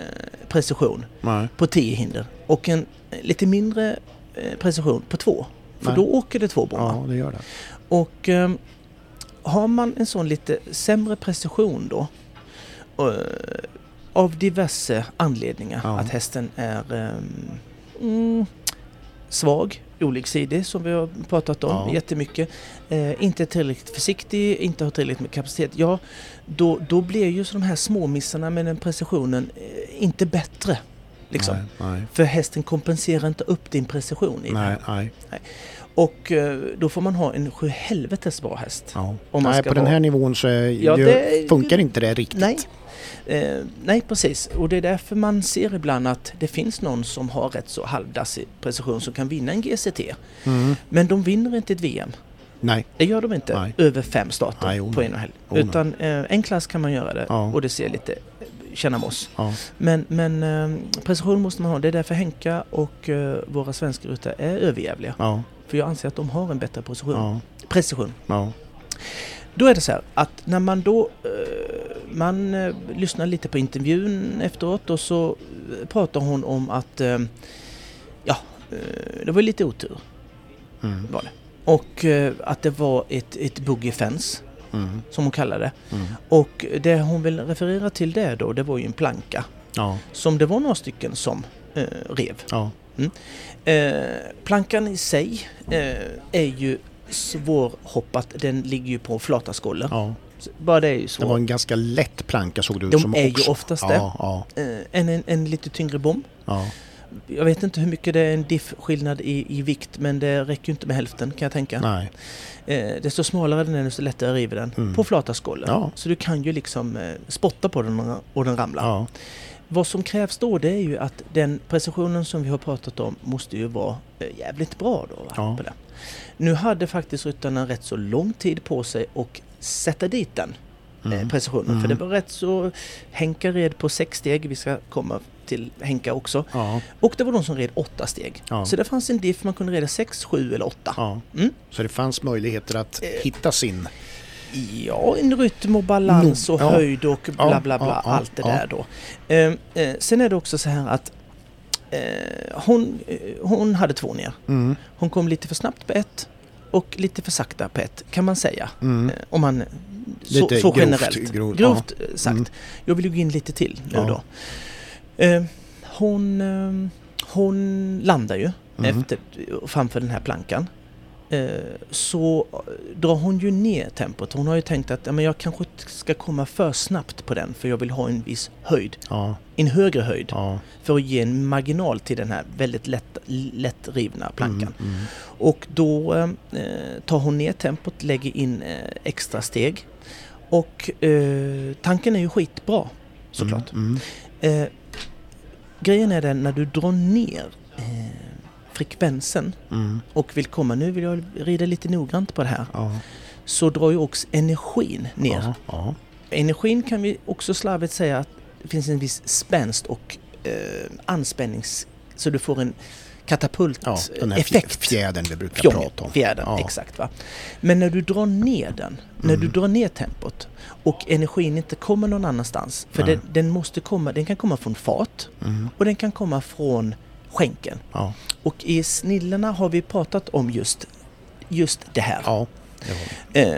precision
Nej.
på 10 hinder och en eh, lite mindre eh, precision på 2. För
Nej.
då åker det två bommar.
ja, det gör det.
Och ehm, har man en sån lite sämre precision då eh, av diverse anledningar
Ja.
att hästen är ehm, mm, svag, oligsidig som vi har pratat om
Ja.
jättemycket, eh, inte tillräckligt försiktig, inte har tillräckligt med kapacitet. Ja, då, då blir ju så de här småmissarna med den precisionen eh, inte bättre. Liksom.
Nej, nej.
För hästen kompenserar inte upp din precision i
Nej,
det.
nej.
Och eh, då får man ha en sjuhelvetes bra häst.
Ja.
Om man
nej
ska
på den
vara-
här nivån så är,
Ja,
ju-
det-
funkar inte det riktigt.
Nej. Eh, nej, precis. Och det är därför man ser ibland att det finns någon som har rätt så halvdassig precision som kan vinna en GCT.
Mm.
Men de vinner inte ett VM.
Nej.
Det gör de inte
Nej.
över fem starter
Nej, jo,
på en och helg.
Jo, nej.
Utan eh, en klass kan man göra det
Ja.
och det ser lite känna moss.
Ja.
Men, men eh, precision måste man ha. Det är därför Henka och eh, våra svenska ryttare är överjävliga.
Ja.
För jag anser att de har en bättre precision.
Ja.
precision.
Ja.
Då är det så här att när man då eh, man eh, lyssnar lite på intervjun efteråt och så eh, pratar hon om att eh, ja, eh, det var lite otur
Mm.
var det. Och eh, att det var ett, ett boogie fence
Mm.
som hon kallade det.
Mm.
Och det hon vill referera till där då det var ju en planka
Ja.
som det var några stycken som eh, rev.
Ja.
Eh, plankan i sig eh, är ju svårhoppat, den ligger ju på flata skållor.
ja.
Bara det är ju
Det
svårt.
var en ganska lätt planka såg det ut
De
som
är ju
också.
oftast
ja,
det.
Ja,
Eh, en, en, en lite tyngre bomb.
ja,
Jag vet inte hur mycket det är en diff-skillnad i, i vikt men det räcker ju inte med hälften kan jag tänka.
nej.
Eh, desto smalare den är desto lättare river den
Mm.
på flata skållor.
Ja.
Så du kan ju liksom eh, spotta på den och- och den ramlar.
Ja,
Vad som krävs då det är ju att den precisionen som vi har pratat om måste ju vara eh, jävligt bra då. Va?
Ja.
På den. Nu hade faktiskt ryttarna rätt så lång tid på sig och sätta dit den
Mm.
eh, precisionen. För det var rätt så... Henka red på sex steg, vi ska komma till Henka också.
ja,
Och det var de som red åtta steg.
Ja.
Så det fanns en diff, man kunde reda sex, sju eller åtta. Ja,
ja.
Mm. Eh.
Så det fanns möjligheter att hitta sin.
en rytm och balans
Nog,
och
ja.
höjd och bla
Ja,
bla bla,
ja, ja,
allt det
ja.
där då. Ehm, eh, sen är det också så här att eh, hon, eh, hon hade två ner.
Mm.
Hon kom lite för snabbt på ett och lite för sakta på ett, kan man säga.
Mm.
Eh, Om man så,
Lite
så
grovt,
generellt.
grovt,
Grovt eh, sagt.
Mm.
Jag vill ju gå in lite till nu
Ja.
då. Eh,
Mm.
hon, eh, hon landar ju efter, framför den här plankan. eh, så drar hon ju ner tempot. Hon har ju tänkt att ja, men jag kanske inte ska komma för snabbt på den för jag vill ha en viss höjd,
Ja,
en högre höjd
ja.
för att ge en marginal till den här väldigt lätt, lättrivna
Mm.
plankan. Och då eh, tar hon ner tempot, lägger in eh, extra steg och eh, tanken är ju skitbra såklart.
Mm.
Eh, grejen är den när du drar ner eh, frekvensen
Mm.
och vill komma, nu vill jag rida lite noggrant på det här,
Ja.
så drar ju också energin ner.
Ja. Ja.
Energin kan vi också slarvigt säga att det finns en viss spänst och eh, anspännings... Så du får en
ja.
katapulteffekt.
Den här fjä- fjädern vi brukar
Fjong,
prata om.
fjädern,
ja. Mm.
exakt. Va? Men när du drar ner den, när du drar ner tempot och energin inte kommer någon annanstans. För den, den, måste komma, den kan komma från fart och den kan komma från skänken.
Mm, Ja.
Och i Snillena har vi pratat om just, just det här.
Ja.
Eh,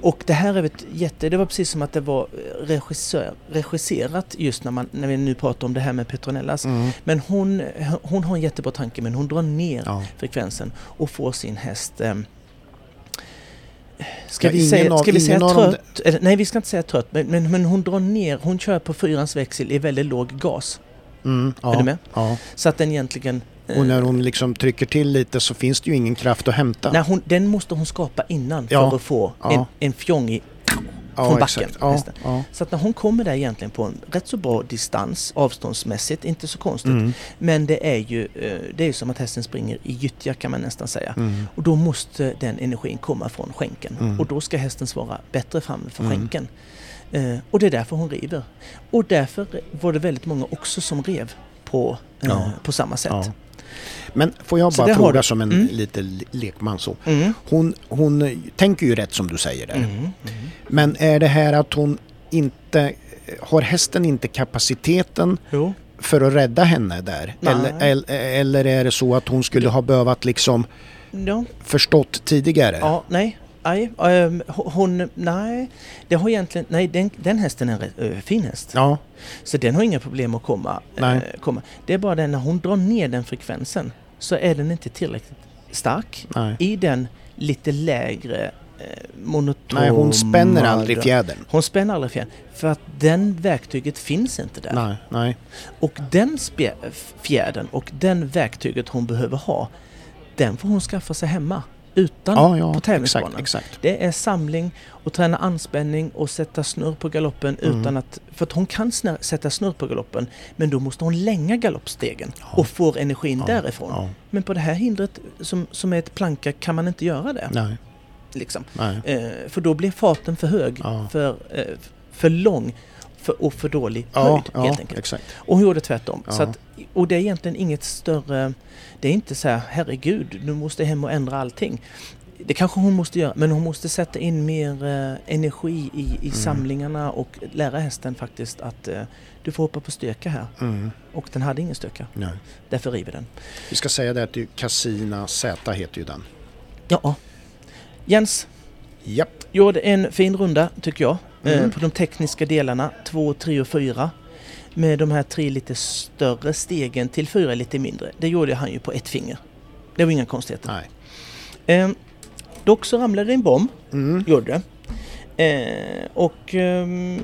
och det här är ett jätte... Det var precis som att det var regissör, regisserat just när, man, när vi nu pratar om det här med Petronellas.
Mm.
Men hon, hon har en jättebra tanke men hon drar ner
Ja.
frekvensen och får sin häst... ehm, ska
Ja,
vi
ingen
säga,
av-
ska vi säga
ingen av dem-
trött? Eller, nej, vi ska inte säga trött. Men, men, men hon drar ner, hon kör på fyrans växel i väldigt låg gas.
Mm. Ja.
Är du med?
Ja.
Så att den egentligen... eh,
Och när hon liksom trycker till lite så finns det ju ingen kraft att hämta.
nej, hon, den måste hon skapa innan
Ja.
för att få
Ja.
en, en fjong i
ja,
från backen,
exakt. Ja.
hästen.
Ja.
Så att när hon kommer där egentligen på en rätt så bra distans avståndsmässigt, inte så konstigt.
Mm.
Men det är ju eh, det är ju som att hästen springer i gyttja kan man nästan säga.
mm,
Och då måste den energin komma från skänken. Och då ska hästen svara bättre framför
Mm.
skänken. Eh, och det är därför hon river. Och därför var det väldigt många också som rev på, eh, på samma sätt.
Ja. Men får jag
Så det
bara
har
fråga
du.
som en
Mm.
lite le- lekman så.
Mm.
Hon, hon eh, tänker ju rätt som du säger där.
Mm.
Men är det här att hon inte, har hästen inte kapaciteten
Jo.
för att rädda henne där?
Nej.
Eller, el- eller är det så att hon skulle ha behövt liksom
Ja.
förstått tidigare?
Ja, nej. Nej, ehm, ho- hon, nej, det har egentligen, nej den, den hästen är en rätt, eh, fin häst.
Ja,
Så den har inga problem att komma,
Nej.
eh, komma. Det är bara det när hon drar ner den frekvensen så är den inte tillräckligt stark
nej.
i den lite lägre eh, monotona...
nej hon spänner aldrig fjädern.
Hon spänner aldrig fjädern. För att den verktyget finns inte där.
Nej, nej.
Och den spe- f- fjädern och den verktyget hon behöver ha, den får hon skaffa sig hemma. Utan
Ja, ja,
på tävlingsbanan.
exakt, exakt.
Det är samling och träna anspänning och sätta snurr på galoppen
Mm.
utan att... För att hon kan snö, sätta snurr på galoppen men då måste hon länga galoppstegen och får energin därifrån.
ja.
Men på det här hindret som, som är ett planka kan man inte göra det.
Nej,
Liksom.
nej.
Eh, för då blir farten för hög,
Ja.
för, eh, för lång för, och för dålig
Ja,
höjd
ja
helt enkelt.
exakt.
Och hon gjorde tvärtom.
Ja.
Så att, och det är egentligen inget större... Det är inte så här, herregud, nu måste jag hem och ändra allting. Det kanske hon måste göra, men hon måste sätta in mer eh, energi i,
Mm.
i samlingarna och lära hästen faktiskt att eh, du får hoppa på stöka här.
Mm,
Och den hade ingen stöka,
nej.
därför river den.
Vi ska säga det att det är Casina Z heter ju den.
Ja. Jens
Japp.
gjorde en fin runda, tycker jag, eh,
Mm.
på de tekniska delarna, 2, 3 och 4. Med de här tre lite större stegen till fyra lite mindre. Det gjorde han ju på ett finger. Det var inga konstigheter.
Nej.
Eh, dock så ramlade det en bomb,
Mm,
gjorde det. Eh, och ehm,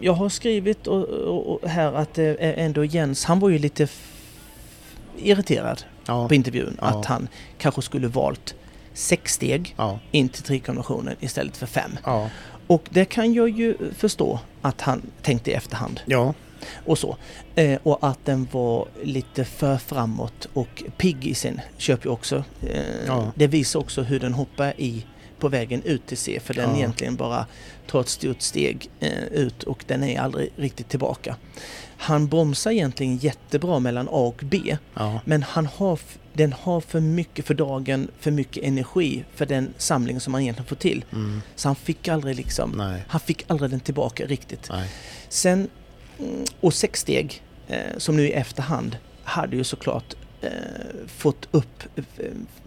jag har skrivit och, och, och här att eh, ändå Jens, han var ju lite f- irriterad
Ja,
på intervjun.
Ja.
Att han kanske skulle valt sex steg
ja,
in till trikonventionen istället för fem.
ja.
Och det kan jag ju förstå att han tänkte i efterhand
Ja,
och så. Eh, och att den var lite för framåt och pigg i sin köp ju också. Eh,
Ja.
Det visar också hur den hoppar i på vägen ut till C för den
Ja.
egentligen bara tar ett stort steg eh, ut och den är aldrig riktigt tillbaka. Han bromsar egentligen jättebra mellan A och B
ja,
men han har, f- den har för mycket för dagen, för mycket energi för den samling som han egentligen får till. Så han fick aldrig liksom,
mm, nej,
han fick aldrig den tillbaka riktigt.
nej.
Sen, mm, och sex steg, eh, som nu i efterhand, hade ju såklart eh, fått upp eh,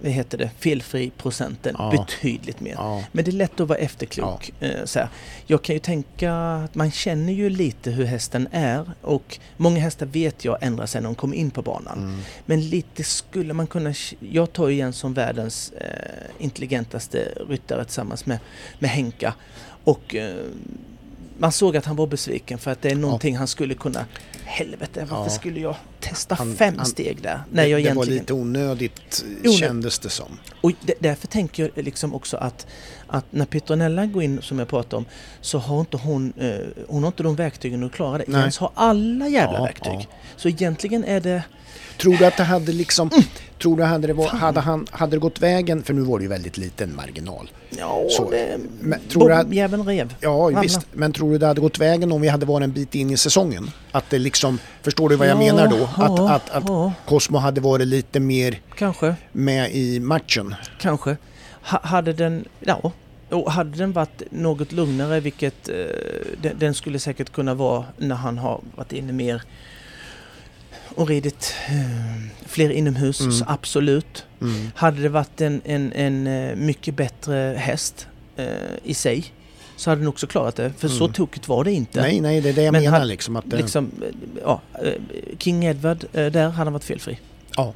vad heter det, felfri-procenten
Ja.
betydligt mer.
Ja.
Men det är lätt att vara efterklok. Eh, så här. Jag kan ju tänka att man känner ju lite hur hästen är och många hästar vet jag ändrar sig när de kommer in på banan.
mm.
Men lite skulle man kunna... Jag tar ju igen som världens eh, intelligentaste ryttare tillsammans med, med Henka. Och eh, man såg att han var besviken för att det är någonting han skulle kunna... Helvete, varför
Ja.
skulle jag testa
Han-
fem
han-
steg där? När jag
det, det var
egentligen...
lite onödigt eh,
Onödigt.
kändes det som.
Och d- därför tänker jag liksom också att, att när Petronella går in, som jag pratade om, så har inte hon, eh, hon har inte de verktygen att klara det.
Nej.
Jens har alla jävla
Ja,
verktyg.
ja.
Så egentligen är det...
Tror du att det hade liksom...
Mm.
Tror du hade det, var, hade, han, hade det gått vägen, för nu var det ju väldigt liten marginal.
Ja,
Så,
det...
men tror du att-
Bombjäveln rev.
Ja,
Ramla.
visst. Men tror du det hade gått vägen om vi hade varit en bit in i säsongen? Att det liksom, förstår du vad jag
Ja,
menar då? Att,
ja,
att, att
ja.
Cosmo hade varit lite mer
Kanske,
med i matchen?
kanske. Ha, hade den... Ja. Och hade den varit något lugnare, vilket eh, den, den skulle säkert kunna vara när han har varit inne mer och ridit eh, fler inomhus, så absolut.
Mm.
Hade det varit en, en, en eh, mycket bättre häst eh, i sig så hade den också klarat det. För så tokigt var det inte.
Nej, nej, det är det jag
Men
menar
han-
liksom. Att, eh,
Liksom, eh, ja, eh, King Edward, eh, där hade han varit felfri.
Ja.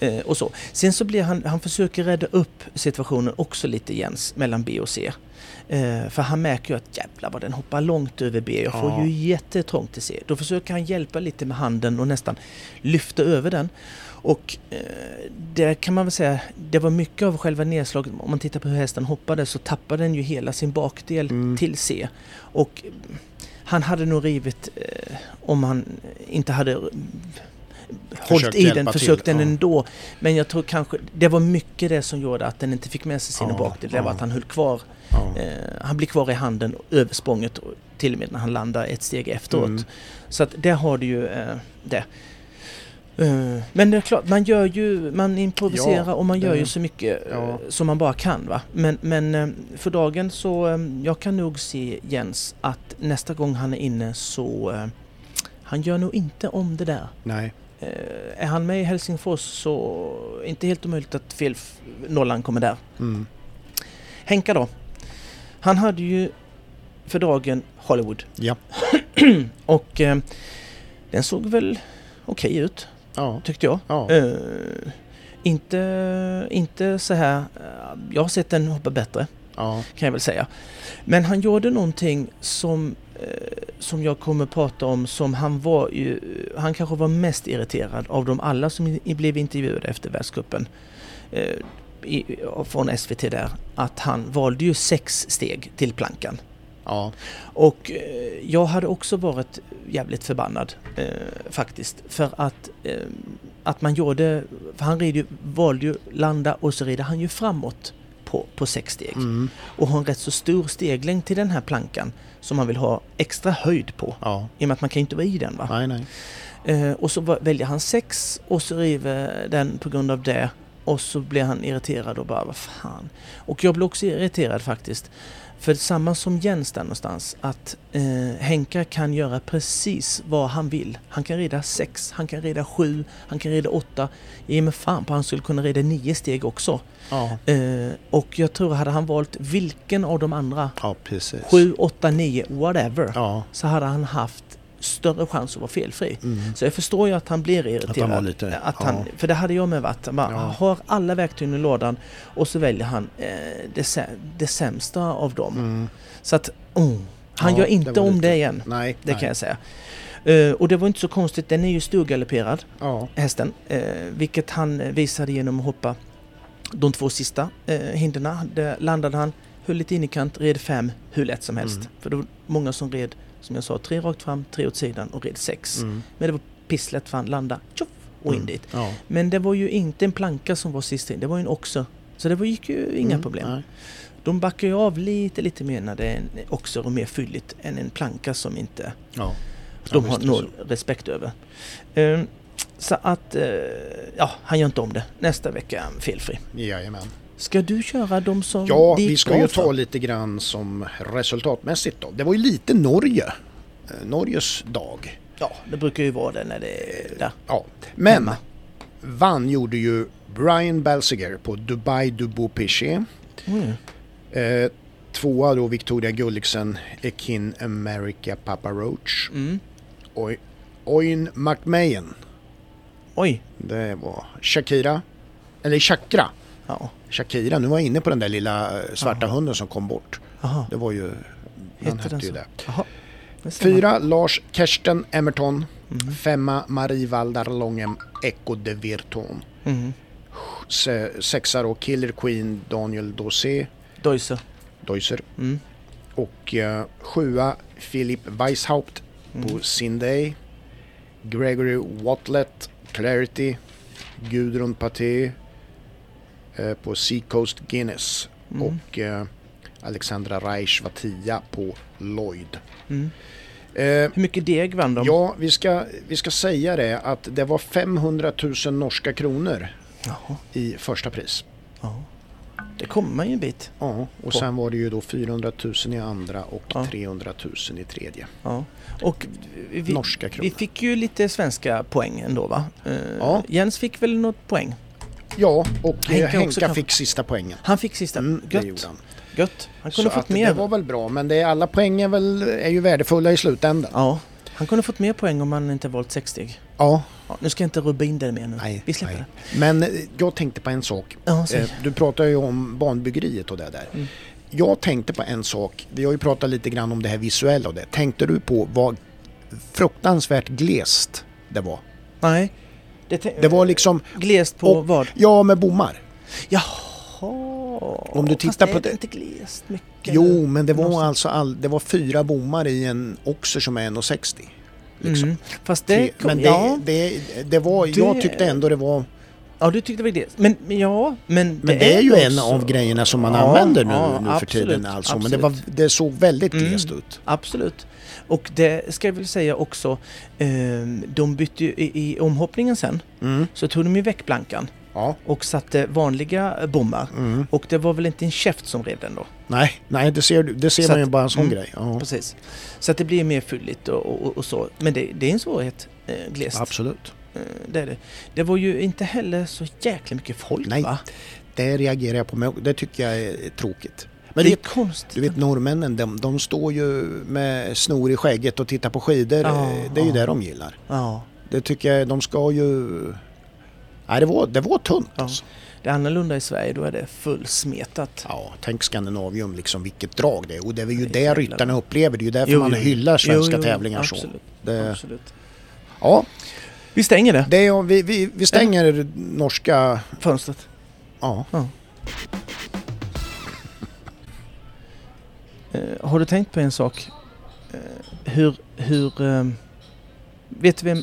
Eh, och så. Sen så blir han, han försöker rädda upp situationen också lite Jens, mellan B och C. Eh, för han märker ju att jävlar vad den hoppar långt över B. Jag får
Ja.
ju jättetrångt till C. Då försöker han hjälpa lite med handen och nästan lyfta över den. Och eh, där kan man väl säga, det var mycket av själva nedslaget. Om man tittar på hur hästen hoppade så tappade den ju hela sin bakdel
Mm.
till C. Och eh, han hade nog rivit eh, om han inte hade eh, hållit i den,
hjälpa
försökt
till,
den
ja.
ändå. Men jag tror kanske, det var mycket det som gjorde att den inte fick med sig sin
Ja,
bakdel. Det var
ja.
att han höll kvar
ja. Mm.
Eh, han blir kvar i handen över språnget och till och med när han landar ett steg efteråt.
Mm.
Så att där har du ju eh, det. Eh, men det är klart, man gör ju, man improviserar
Ja,
och man gör
det-
ju så mycket eh,
ja.
som man bara kan. Va? Men, men eh, för dagen så, eh, jag kan nog se Jens att nästa gång han är inne så, eh, han gör nog inte om det där.
Nej.
Eh, är han med i Helsingfors så, inte helt omöjligt att fel nollan kommer där.
Mm.
Henka då. Han hade ju för dagen Hollywood.
Ja.
*clears throat* Och eh, den såg väl okej ut,
Ja.
tyckte jag.
Ja.
Eh, inte, inte så här... eh, Jag har sett den hoppa bättre,
Ja.
kan jag väl säga. Men han gjorde någonting som, eh, som jag kommer prata om som han var ju... Han kanske var mest irriterad av dem alla som i- blev intervjuade efter världscupen. Eh, i, från SVT där, att han valde ju sex steg till plankan.
Ja.
Och eh, jag hade också varit jävligt förbannad eh, faktiskt. För att, eh, att man gjorde, för han rider ju, valde ju landa och så rider han ju framåt på, på sex
Mm.
steg. Och har en rätt så stor steglängd till den här plankan som man vill ha extra höjd på.
ja.
I och med att man kan ju inte vara i den va.
Nej, nej.
Eh, och så va- väljer han sex och så river den på grund av det. Och så blir han irriterad och bara vad fan. Och jag blir också irriterad faktiskt. För samma som Jens där någonstans att eh, Henka kan göra precis vad han vill. Han kan rida sex, han kan rida sju, han kan rida åtta. Ge mig fan på han skulle kunna rida nio steg också.
Ja.
Eh, och jag tror hade han valt vilken av de andra,
Ja, precis.
sju, åtta, nio, whatever
Ja.
så hade han haft större chans att vara felfri. Så jag förstår ju att han blir irriterad.
Mm. Att han var lite-
Att han,
ja.
För det hade jag med varit. Han bara,
Ja.
han har alla verktygen i lådan och så väljer han eh, det, sä- det sämsta av dem. Så att, oh, han
Mm. Ja,
gör
det
inte
var
om
lite-
det igen.
Nej.
Typ. Det
nej.
kan jag säga. Eh, och det var inte så konstigt, den är ju storgalopperad
Ja.
hästen. Eh, vilket han eh, visade genom att hoppa de två sista eh, hindren. Där landade han, höll lite in i kant, red fem hur lätt som helst. För det var många som red, som jag sa, tre rakt fram, tre åt sidan och red sex.
Mm.
Men det var pisslätt för han landade, tjoff, och in dit.
Ja.
Men det var ju inte en planka som var sist in, det var ju en också. Så det var, gick ju inga problem.
Mm, nej.
De backar ju av lite, lite mer när det är en också och mer fylligt än en planka som inte
Ja.
de
Ja,
har
visst är
noll respekt över. Ehm, så att, eh, ja, han gör inte om det. Nästa vecka är han felfri.
Jajamän.
Ska du köra de som
Ja,
det gick
vi ska
bra
ju
för?
ta lite grann som resultatmässigt då. Det var ju lite Norge. Eh, Norges dag.
Ja, det brukar ju vara det när det är där.
Ja, men
Hemma.
vann gjorde ju Brian Balsiger på Dubai Dubo Piché.
Mm.
Eh, tvåa då Victoria Gulliksen, Ekin America Papa Roach.
Mm.
Oj, Oin McMahon.
Oj.
Det var Shakira. Eller Chakra.
Ja.
Shakira, nu var jag inne på den där lilla eh, svarta hunden som kom bort.
Aha.
Det var ju... Den
Hette
hette
den
ju
så?
det.
Jaha. Det ser man.
Fyra Lars Kersten Emerton.
Mm.
Femma Marie Valdar Långem Echo de Virton.
Mm.
Se, sexa då Killer Queen Daniel Dosé
Deuser.
Deuser.
Mm.
Och eh, sjua Philip Weishaupt på
Mm.
sin day. Gregory Watlett Clarity. Gudrun Paté eh, på Seacoast Guinness.
Mm.
Och eh, Alexandra Reich var tia på Lloyd.
Mm.
Eh,
Hur mycket deg vann de?
Ja, vi ska, vi ska säga det att det var 500 000 norska kronor
Jaha.
i första pris.
Ja. Det kommer man ju en bit.
Ja, och sen var det ju då 400 000 i andra och
Ja.
300 000 i tredje.
Ja. Och vi,
Norska
vi
kronor.
fick ju lite svenska poäng ändå va? Eh,
Ja.
Jens fick väl något poäng?
Ja, och
Henke
Henka,
också
Henka
kanske.
fick sista poängen.
Han fick sista.
Mm, det
Gött.
gjorde han.
Gött. Han
Så
kunde
att
fått
det
mer.
var väl bra, men det är, alla poäng är, väl, är ju värdefulla i slutändan.
Ja. Han kunde fått mer poäng om han inte valt sexsteg.
Ja,
Ja, nu ska jag inte rubba in det mer nu.
nej.
Vi släpper
nej.
det.
Men eh, jag tänkte på en sak.
Ja, säg.
Eh, Du pratar ju om banbyggeriet och det där.
Mm.
Jag tänkte på en sak. Vi har ju pratat lite grann om det här visuella och det. Tänkte du på vad fruktansvärt glest det var?
Nej. Det, te-
Det var liksom...
glest på
och-
vad?
Ja, med bommar.
Jaha.
Om du
Fast
tittar på
är det
det-
inte glest mycket?
Jo, men det var
Någonstans.
alltså all, det var fyra bommar i en Oxer som är 1,60. liksom.
Mm. Fast det kom,
men det,
ja.
det, det var, jag
Det-
tyckte ändå det var...
ja, du tyckte väl det. Men men ja, men det,
Men det, är ju en
också-
av grejerna som man
Ja,
använder nu,
ja,
nu för
absolut,
tiden alltså. Men det,
absolut.
var, det såg väldigt
Mm.
glest ut.
Absolut. Och det ska jag väl säga också, ehm, de bytte ju i, i omhoppningen sen,
Mm.
så tog de ju väck plankan
Ja.
och satte vanliga eh, bommar.
Mm.
Och det var väl inte en käft som rev den då?
Nej, nej, det ser, du- det ser
Så
man ju
att-
bara en sån
mm.
grej. Ja.
Precis. Så att det blir mer fylligt och, och, och så. Men det, det är en svårighet, eh, glest.
Absolut.
Eh, det är det. Det var ju inte heller så jäkla mycket folk
Nej,
va?
det reagerar jag på. Men det tycker jag är tråkigt. Men
Men det är
det,
konstigt.
du vet norrmännen, de, de står ju med snor i skägget och tittar på skidor.
Ja,
det är ju
ja.
det de gillar.
Ja,
Det tycker jag, de ska ju... Nej, det var, det var tunt
ja.
alltså.
Det är annorlunda i Sverige, då är det fullsmetat.
Ja, tänk Skandinavium liksom, vilket drag det är. Och det är ju
Det
det,
är jävla-
ryttarna upplever, det är ju därför
Jo,
man
jo, jo.
hyllar svenska
Jo, jo,
tävlingar så. Eh.
absolut,
Det,
Absolut.
ja,
Vi stänger det
det är, vi, vi, vi stänger norska...
fönstret.
Ja.
Eh, har du tänkt på en sak? Eh, hur... hur eh, vet du vem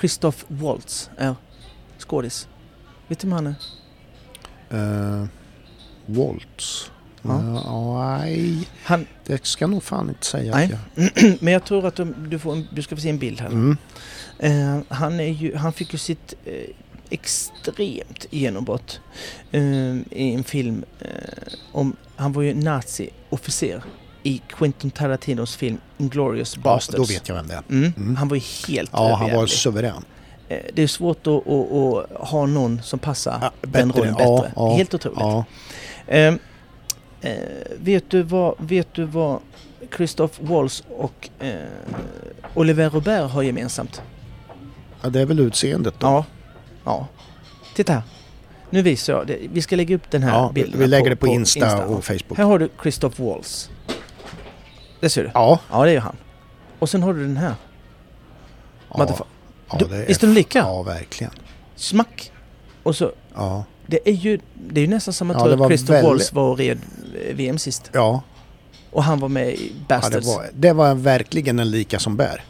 Christoph Waltz är? Skådis. Vet du vem han är?
Uh, Waltz.
Ja.
Ja, nej,
Han, *clears throat*
det ska jag nog fan inte säga.
Nej.
att jag-
men jag tror att du, du, får en, du ska få se en bild här.
Mm.
Eh, han, är ju, han fick ju sitt eh, extremt genombrott eh, i en film eh, om... Han var ju nazi-officer i Quentin Tarantinos film Inglourious
Ja,
Basterds.
då vet jag vem det är.
Mm.
Mm.
Han var ju helt
Ja, han var
överjävlig.
suverän.
Eh, Det är svårt att, att, att ha någon som passar
Ja,
den rollen bättre.
Ja, ja,
Helt otroligt.
Ja.
Ehm, eh, vet, du vad, vet du vad Christoph Waltz och eh, Oliver Robert har gemensamt?
ja, det är väl utseendet då.
Ja. ja. Titta här. Nu visar jag. Det. Vi ska lägga upp den här
Ja, vi,
bilden.
vi lägger det på, Insta, och Facebook.
Här har du Christoph Waltz. Det ser du.
Ja,
Ja, det är han. Och sen har du den här.
ja,
Motherfucker.
ja,
Du-
det är
Visst är de lika?
Ja, verkligen.
Smack! Och så
Ja,
Det är ju, det är ju nästan som att
Ja,
tro
det
att
var
Christer
väldigt-
Walls var och red eh, VM sist.
ja,
Och han var med i
ja det,
Bastards.
var, det var verkligen en lika som bär.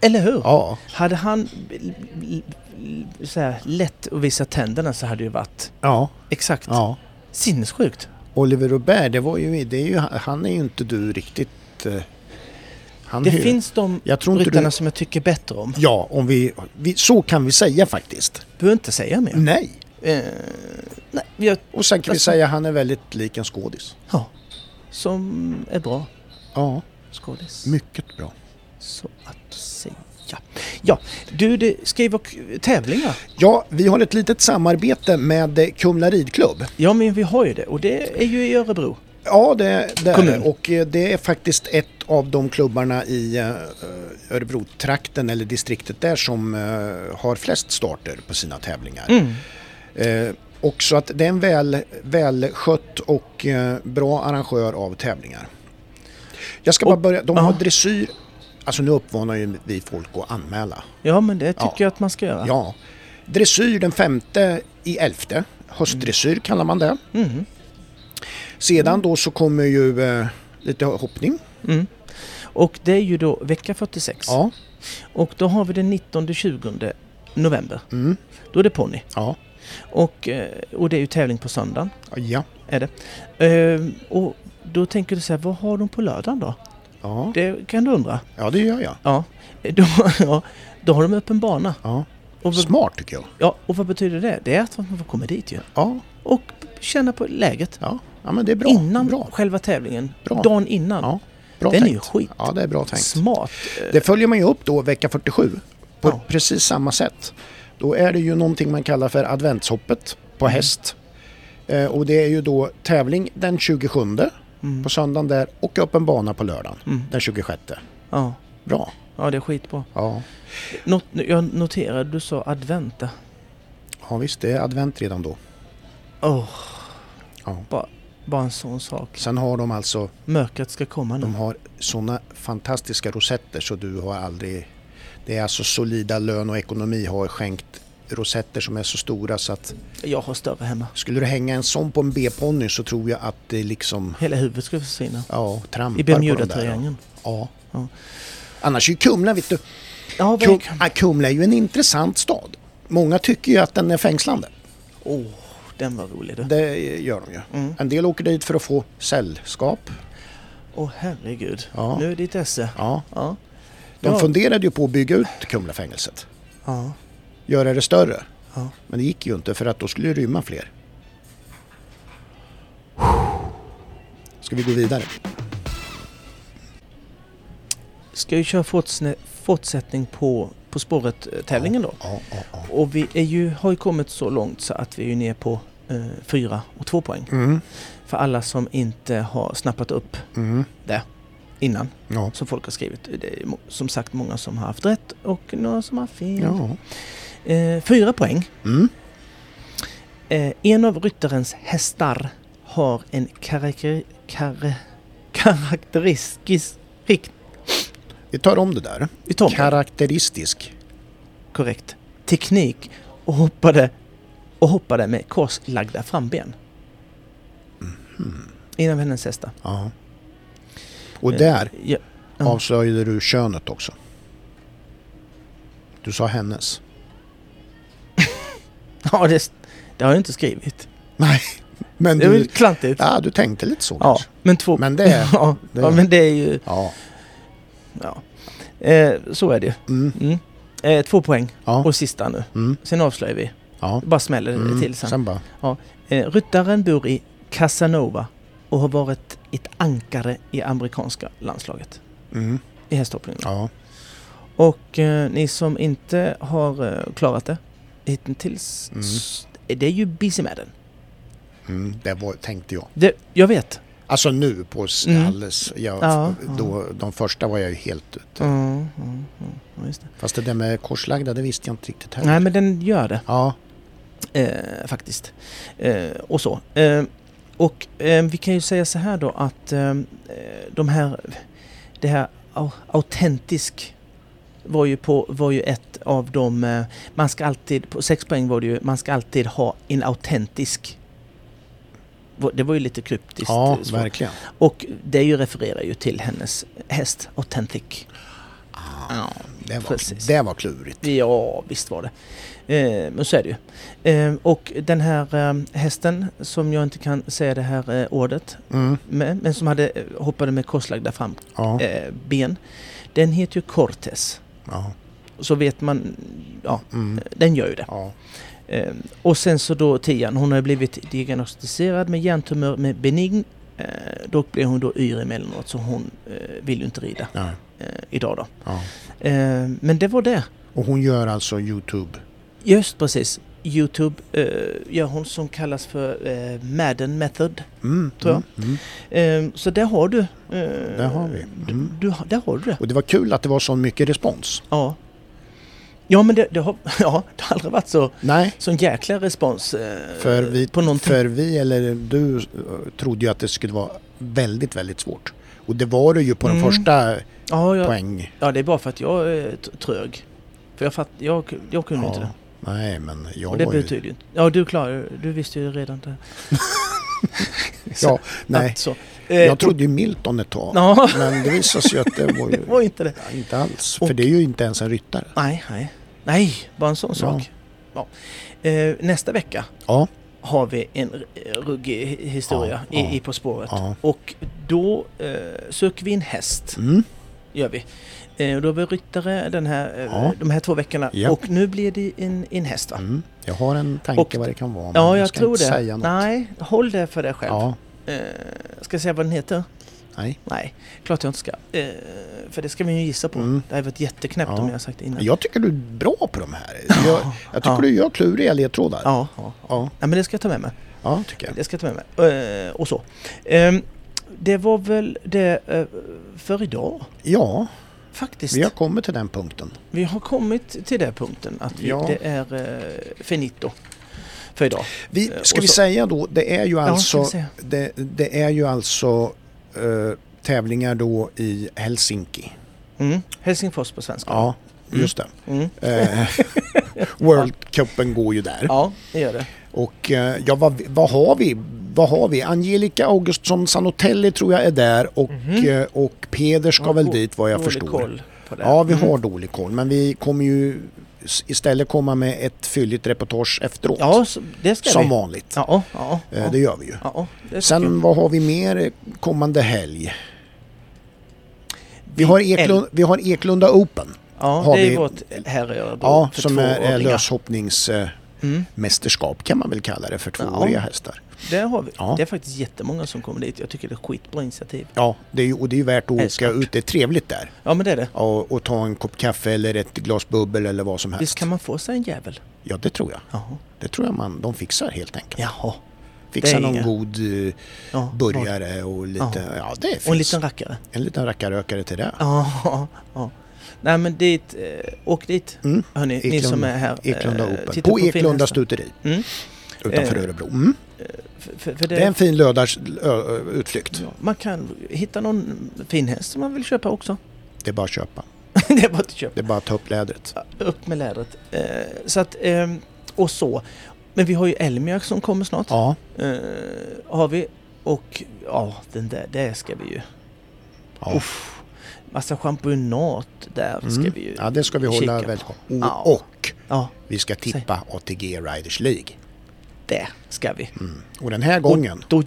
Eller hur?
Ja,
Hade han l- l- l- så här, lätt att visa tänderna så hade det ju varit
ja,
exakt
ja.
sinnessjukt.
Oliver Robert, det var ju, det är ju, han är ju inte du riktigt... eh, Han
Det
är ju-
finns de
Jag tror inte
ryttarna
du...
som jag tycker bättre om.
Ja, om vi, vi, så kan vi säga faktiskt.
Du behöver inte säga mer.
Nej.
Eh, nej, jag,
Och sen kan vi
Alltså-
säga att han är väldigt lik en skådis.
ja, som är bra
Ja,
skådis.
mycket bra.
Så att säga. Ja. ja, du det skriver k- tävlingar.
Ja, vi har ett litet samarbete med eh, Kumla ridklubb.
Ja, men vi har ju det och det är ju i Örebro.
Ja, det, det är
Kommun.
det. Och eh, det är faktiskt ett av de klubbarna i eh, Örebro-trakten eller distriktet där som eh, har flest starter på sina tävlingar.
Mm.
Eh, Och så att det är en väl, välskött och eh, bra arrangör av tävlingar. Jag ska bara
Och-
börja, de har
aha.
dressyr, alltså nu uppmanar ju vi folk att anmäla.
Ja, men det tycker
Ja.
jag att man ska göra.
Ja. Dressyr den femte i elfte. Höstdressyr kallar man det.
Mm.
Sedan då så kommer ju eh, lite hoppning.
Mm. Och det är ju då vecka 46
Ja.
och då har vi den 19-20 november.
Mm.
Då är det ponny
Ja.
och, eh, och det är ju tävling på söndagen.
Ja.
Är det. Ehm, och då tänker du så här, vad har de på lördagen då?
Ja.
Det kan du undra.
ja, det gör jag.
Ja, Eh, då, *laughs* ja, då har de öppen bana.
Ja.
Och, vad-
Smart tycker jag.
ja, och vad betyder det? Det är att man får komma dit ju.
Ja.
Och känna på läget.
Ja, ja men det är bra.
innan
Bra.
själva tävlingen.
Bra.
Dagen innan.
Ja. Bra
Den är
tänkt.
ju skit.
Ja, det är bra tänkt.
Smart.
Det följer man ju upp då vecka 47 på
Ja.
precis samma sätt. Då är det ju någonting man kallar för adventshoppet på häst. Eh, och det är ju då tävling den 27 på söndagen där och öppen bana på lördagen den 26.
Ja.
Bra.
ja, det är skitbra.
Ja.
Not, jag noterade, du sa adventa.
ja, visst det är advent redan då.
Åh,
Ja.
bara, bara en sån sak.
Sen har de alltså,
Mörkret ska komma nu.
de har sådana fantastiska rosetter så du har aldrig... Det är alltså solida lön och ekonomi har skänkt rosetter som är så stora så att
Jag har större hemma.
Skulle du hänga en sån på en B-ponny så tror jag att det liksom
Hela huvudet ska försvinna.
ja, trampar
I
på de där.
Bermudatriangeln.
Ja.
Ja.
Annars är ju Kumla, vet du.
Ja, vad
Kum,
är-
ja, Kumla är ju en intressant stad. Många tycker ju att den är fängslande.
Åh, den var rolig du.
Det gör de ju.
Mm.
En del åker dit för att få sällskap.
Åh herregud.
Ja.
Nu är det ditt esse.
Ja.
Ja.
De
Ja.
funderade ju på att bygga ut Kumlafängelset.
Ja.
Göra det större.
Ja.
Men det gick ju inte för att då skulle det rymma fler. Ska vi gå vidare?
Ska ju köra fortsne- fortsättning på På spåret-tävlingen då.
Ja, ja, ja.
Och vi är ju, har ju kommit så långt så att vi är ju ner på eh, fyra och två poäng.
Mm.
För alla som inte har snappat upp
Mm.
det innan
Ja.
som folk har skrivit. Det är mo- som sagt många som har haft rätt och några som har fel.
ja.
Eh, fyra poäng.
Mm.
Eh, en av ryttarens hästar har en karakter, kar, karakteristisk... rikt-
Vi tar om det där.
Vi tar om det.
Karaktäristisk.
korrekt teknik och hoppade, och hoppade med korslagda framben. En av hennes hästar.
Ja. Mhm. Och där
Ja, Eh, Ja.
avslöjade du könet också. Du sa hennes. *laughs*
ja det, det har jag inte skrivit.
Nej, men
Det är väl
du,
klantigt. Ja,
ja, du tänkte lite så kanske.
men två...
Men det är...
*laughs* ja,
det-
ja, men det är ju...
Ja.
Ja. Eh, så är det ju.
Mm.
Mm. Eh, två poäng
Ja.
och sista nu.
Mm.
Sen avslöjar vi.
ja.
Det bara smäller det
Mm.
till sen.
bara...
Eh, ryttaren bor i Casanova och har varit ett ankare i amerikanska landslaget
Mm.
i hästhoppningen.
Ja.
Och eh, ni som inte har eh, klarat det hittills,
Mm.
s- det är ju busy med den.
Mm. Det var, tänkte jag.
Det, jag vet.
Alltså nu på s-
Mm.
alldeles... Jag,
Ja,
då, de första var jag ju helt ute.
Mm, mm, mm, ja, just det.
Fast det där med korslagda, det visste jag inte riktigt heller.
Nej men den gör det
Ja.
eh, faktiskt. Eh, och så. Eh, och eh, vi kan ju säga så här då att eh, de här, det här au- autentisk var ju, på, var ju ett av de, eh, man ska alltid, på sex poäng var det ju, man ska alltid ha en autentisk. Det var ju lite kryptiskt.
ja,
eh, svårt.
verkligen.
Och det ju refererar ju till hennes häst Authentic. Ah.
Ja, det, var,
precis.
det var klurigt.
Ja, visst var det. Eh, men så är det ju. Eh, och den här eh, hästen som jag inte kan säga det här eh, ordet
Mm.
med, men som hade eh, hoppade med korslagda fram
Ja.
eh, ben. Den heter ju Cortes.
Ja.
Så vet man, ja,
Mm.
den gör ju det.
Ja.
Eh, och sen så då Tian, hon har ju blivit diagnostiserad med hjärntumör med benign Eh, dock blev hon då yr emellanåt så hon eh, vill ju inte rida
Ja,
eh, idag då.
ja.
Eh, men det var det.
Och hon gör alltså Youtube.
Just precis. Youtube eh, gör hon som kallas för eh, Madden Method.
Mm,
Tror jag.
Mm, mm.
Eh, så där har du... Eh,
Där har vi.
Du,
Mm.
du, har- där har du det.
Och det var kul att det var så mycket respons.
Ja. Ja men det, det har, *laughs* ja, det har aldrig varit så
Nej,
sån jäkla respons eh,
för vi,
på typ. någonting.
för vi eller du eh, trodde ju att det skulle vara väldigt, väldigt svårt. Och det var det ju på
Mm.
den första
ja, jag,
poäng.
ja, det är bara för att jag är t- trög. För jag, fatt, jag, jag kunde inte det.
Nej, men jag
Och det typ
var ju...
betyder ju inte... Ja, du klarar Du visste ju redan det.
Ja, nej.
Att så. Eh,
Jag trodde ju Milton ett tag.
*laughs* Ja,
Men det visade sig ju att det var
det *laughs*
ju
var inte det.
inte alls.
Och-
För det är ju inte ens en ryttare.
Nej, nej. Nej, bara en sån sak. Ja. Eh, nästa vecka
Ja,
har vi en r- ruggig hi- historia
Ja, ja,
i, i På spåret.
ja.
Och då eh, söker vi en häst.
Mm.
gör vi. Eh, och då har vi ryttare den här, eh,
Ja.
de här två veckorna.
Ja.
Och nu blir det en, en häst va?
Mm. Jag har en tanke
Och-
vad det kan vara. men
Ja, jag,
ska
tror
inte
det.
Säga något.
Nej, håll det för dig själv.
Ja,
Eh, ska jag säga vad den heter?
nej.
Nej, klart jag inte ska. Eh, för det ska vi ju gissa på.
Mm.
Det hade varit jätteknäppt
Ja.
om jag sagt det innan.
Jag tycker du är bra på de här. Jag, jag tycker
Ja.
du gör kluriga ledtrådar.
Ja, ja.
Ja,
Nej, men det ska jag ta med mig.
ja, tycker jag.
Det ska jag ta med mig. Eh, och så. Ehm, det var väl det eh, för idag
Ja,
faktiskt.
vi har kommit till den punkten.
Vi har kommit till den punkten att vi,
Ja.
det är eh, finito för idag.
Vi,
Eh, och
ska vi
så-
säga då, det är ju
ska
alltså,
vi säga.
det, det är ju alltså eh, tävlingar då i Helsinki.
Mm. Helsingfors på svenska.
Ja, just det.
Mm.
Eh, *laughs* World Cupen går ju där.
Ja, det gör det.
Och eh, ja, vad, vad har vi? Vad har vi? Angelica Augustsson Sanotelli tror jag är där och, eh, och Peder ska väl dit vad jag
Mhm. Mm. Dålig
förstår.
koll på det. Mm.
Ja, vi har dålig koll, men vi kommer ju s- istället komma med ett fylligt reportage efteråt.
Ja, så, det ska
som
vi.
vanligt.
Ja, ja, ja,
Eh, Det gör vi ju.
ja, det är så kul.
Sen vad har vi mer eh, kommande helg? Vi har, Eklund, vi har Eklunda Open.
ja,
har
det är
vi-
vårt herrgöra då
Ja,
för
som
två
är, är
åringar. Mm.
löshoppningsmästerskap kan man väl kalla det för tvååriga hästar.
Det har vi.
Ja.
Det är faktiskt jättemånga som kommer dit. Jag tycker det är skitbra initiativ.
Ja, det är, ju- och det är ju värt att åka
Älskvärt.
ut. Det är trevligt där.
Ja, men det är det.
Ja, och ta en kopp kaffe eller ett glas bubbel eller vad som helst.
Visst kan man få sig en jävel?
Ja, det tror jag.
Jaha.
Det tror jag man, de fixar helt enkelt.
Jaha. det
Fixa
är
någon
inga-
god eh,
Ja, något.
burgare och lite, ja,
Ja.
det finns.
Och en liten rackare.
en liten rackarökare till det.
Ja, ja, ja. Nej men dit, eh, åk dit
Mm.
hörni, ni
Eklund-
som är här. eh,
Eklunda Open.
titta
På
fina
Eklunda
hästar.
stuteri
Mm.
utanför
Eh,
Örebro. Mm.
För, för, för det,
Det är en fin lördags ö, ö, utflykt.
Ja, man kan hitta någon fin häst som man vill köpa också. *laughs*
Det är bara att köpa.
det är bara att köpa.
Det är bara att ta upp lädret.
Upp med lädret. Eh, så att, ehm, och så. Men vi har ju Elmiak som kommer snart.
Ja,
Eh, har vi. Och ja, den där, det ska vi ju.
ja.
Uff. Massa champignat där ska
Mm.
vi ju.
ja det ska vi
kika
hålla
på.
väldigt och,
Ja.
och
Ja,
vi ska tippa ATG Riders League.
det ska vi.
Mm. Och den här gången,
Då,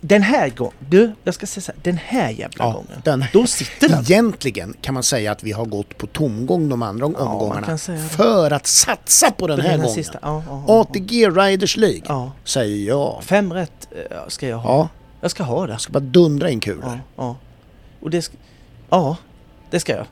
den här gången. Du, jag ska säga så här. Den här jävla
Ja,
gången.
den-
Då sitter den.
egentligen kan man säga att vi har gått på tomgång de andra
man
omgångarna
kan säga det.
för att satsa på den
Den
här
här
gången.
sista, ja, ja, ja.
ATG Riders League,
Ja.
säger jag.
Fem rätt eh, ska jag ha.
Ja,
Jag ska ha det.
ska bara dundra in kulor.
Ja, ja. Och det ska, ja, det ska jag.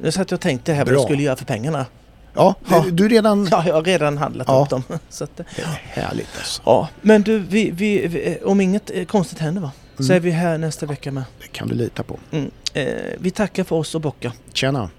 Nu satt jag och tänkte här vad
Bra.
jag skulle göra för pengarna. *laughs*
Ja,
Ja.
Du, du är redan...
Ja, jag har redan handlat
Ja.
upp dem. *laughs* Så att, eh,
Härligt alltså.
ja. Men du, vi, vi, vi, om inget eh, konstigt händer va?
Mm.
Så är vi här nästa vecka med.
Det kan du lita på.
Mm. Eh, vi tackar för oss och bockar.
Tjena.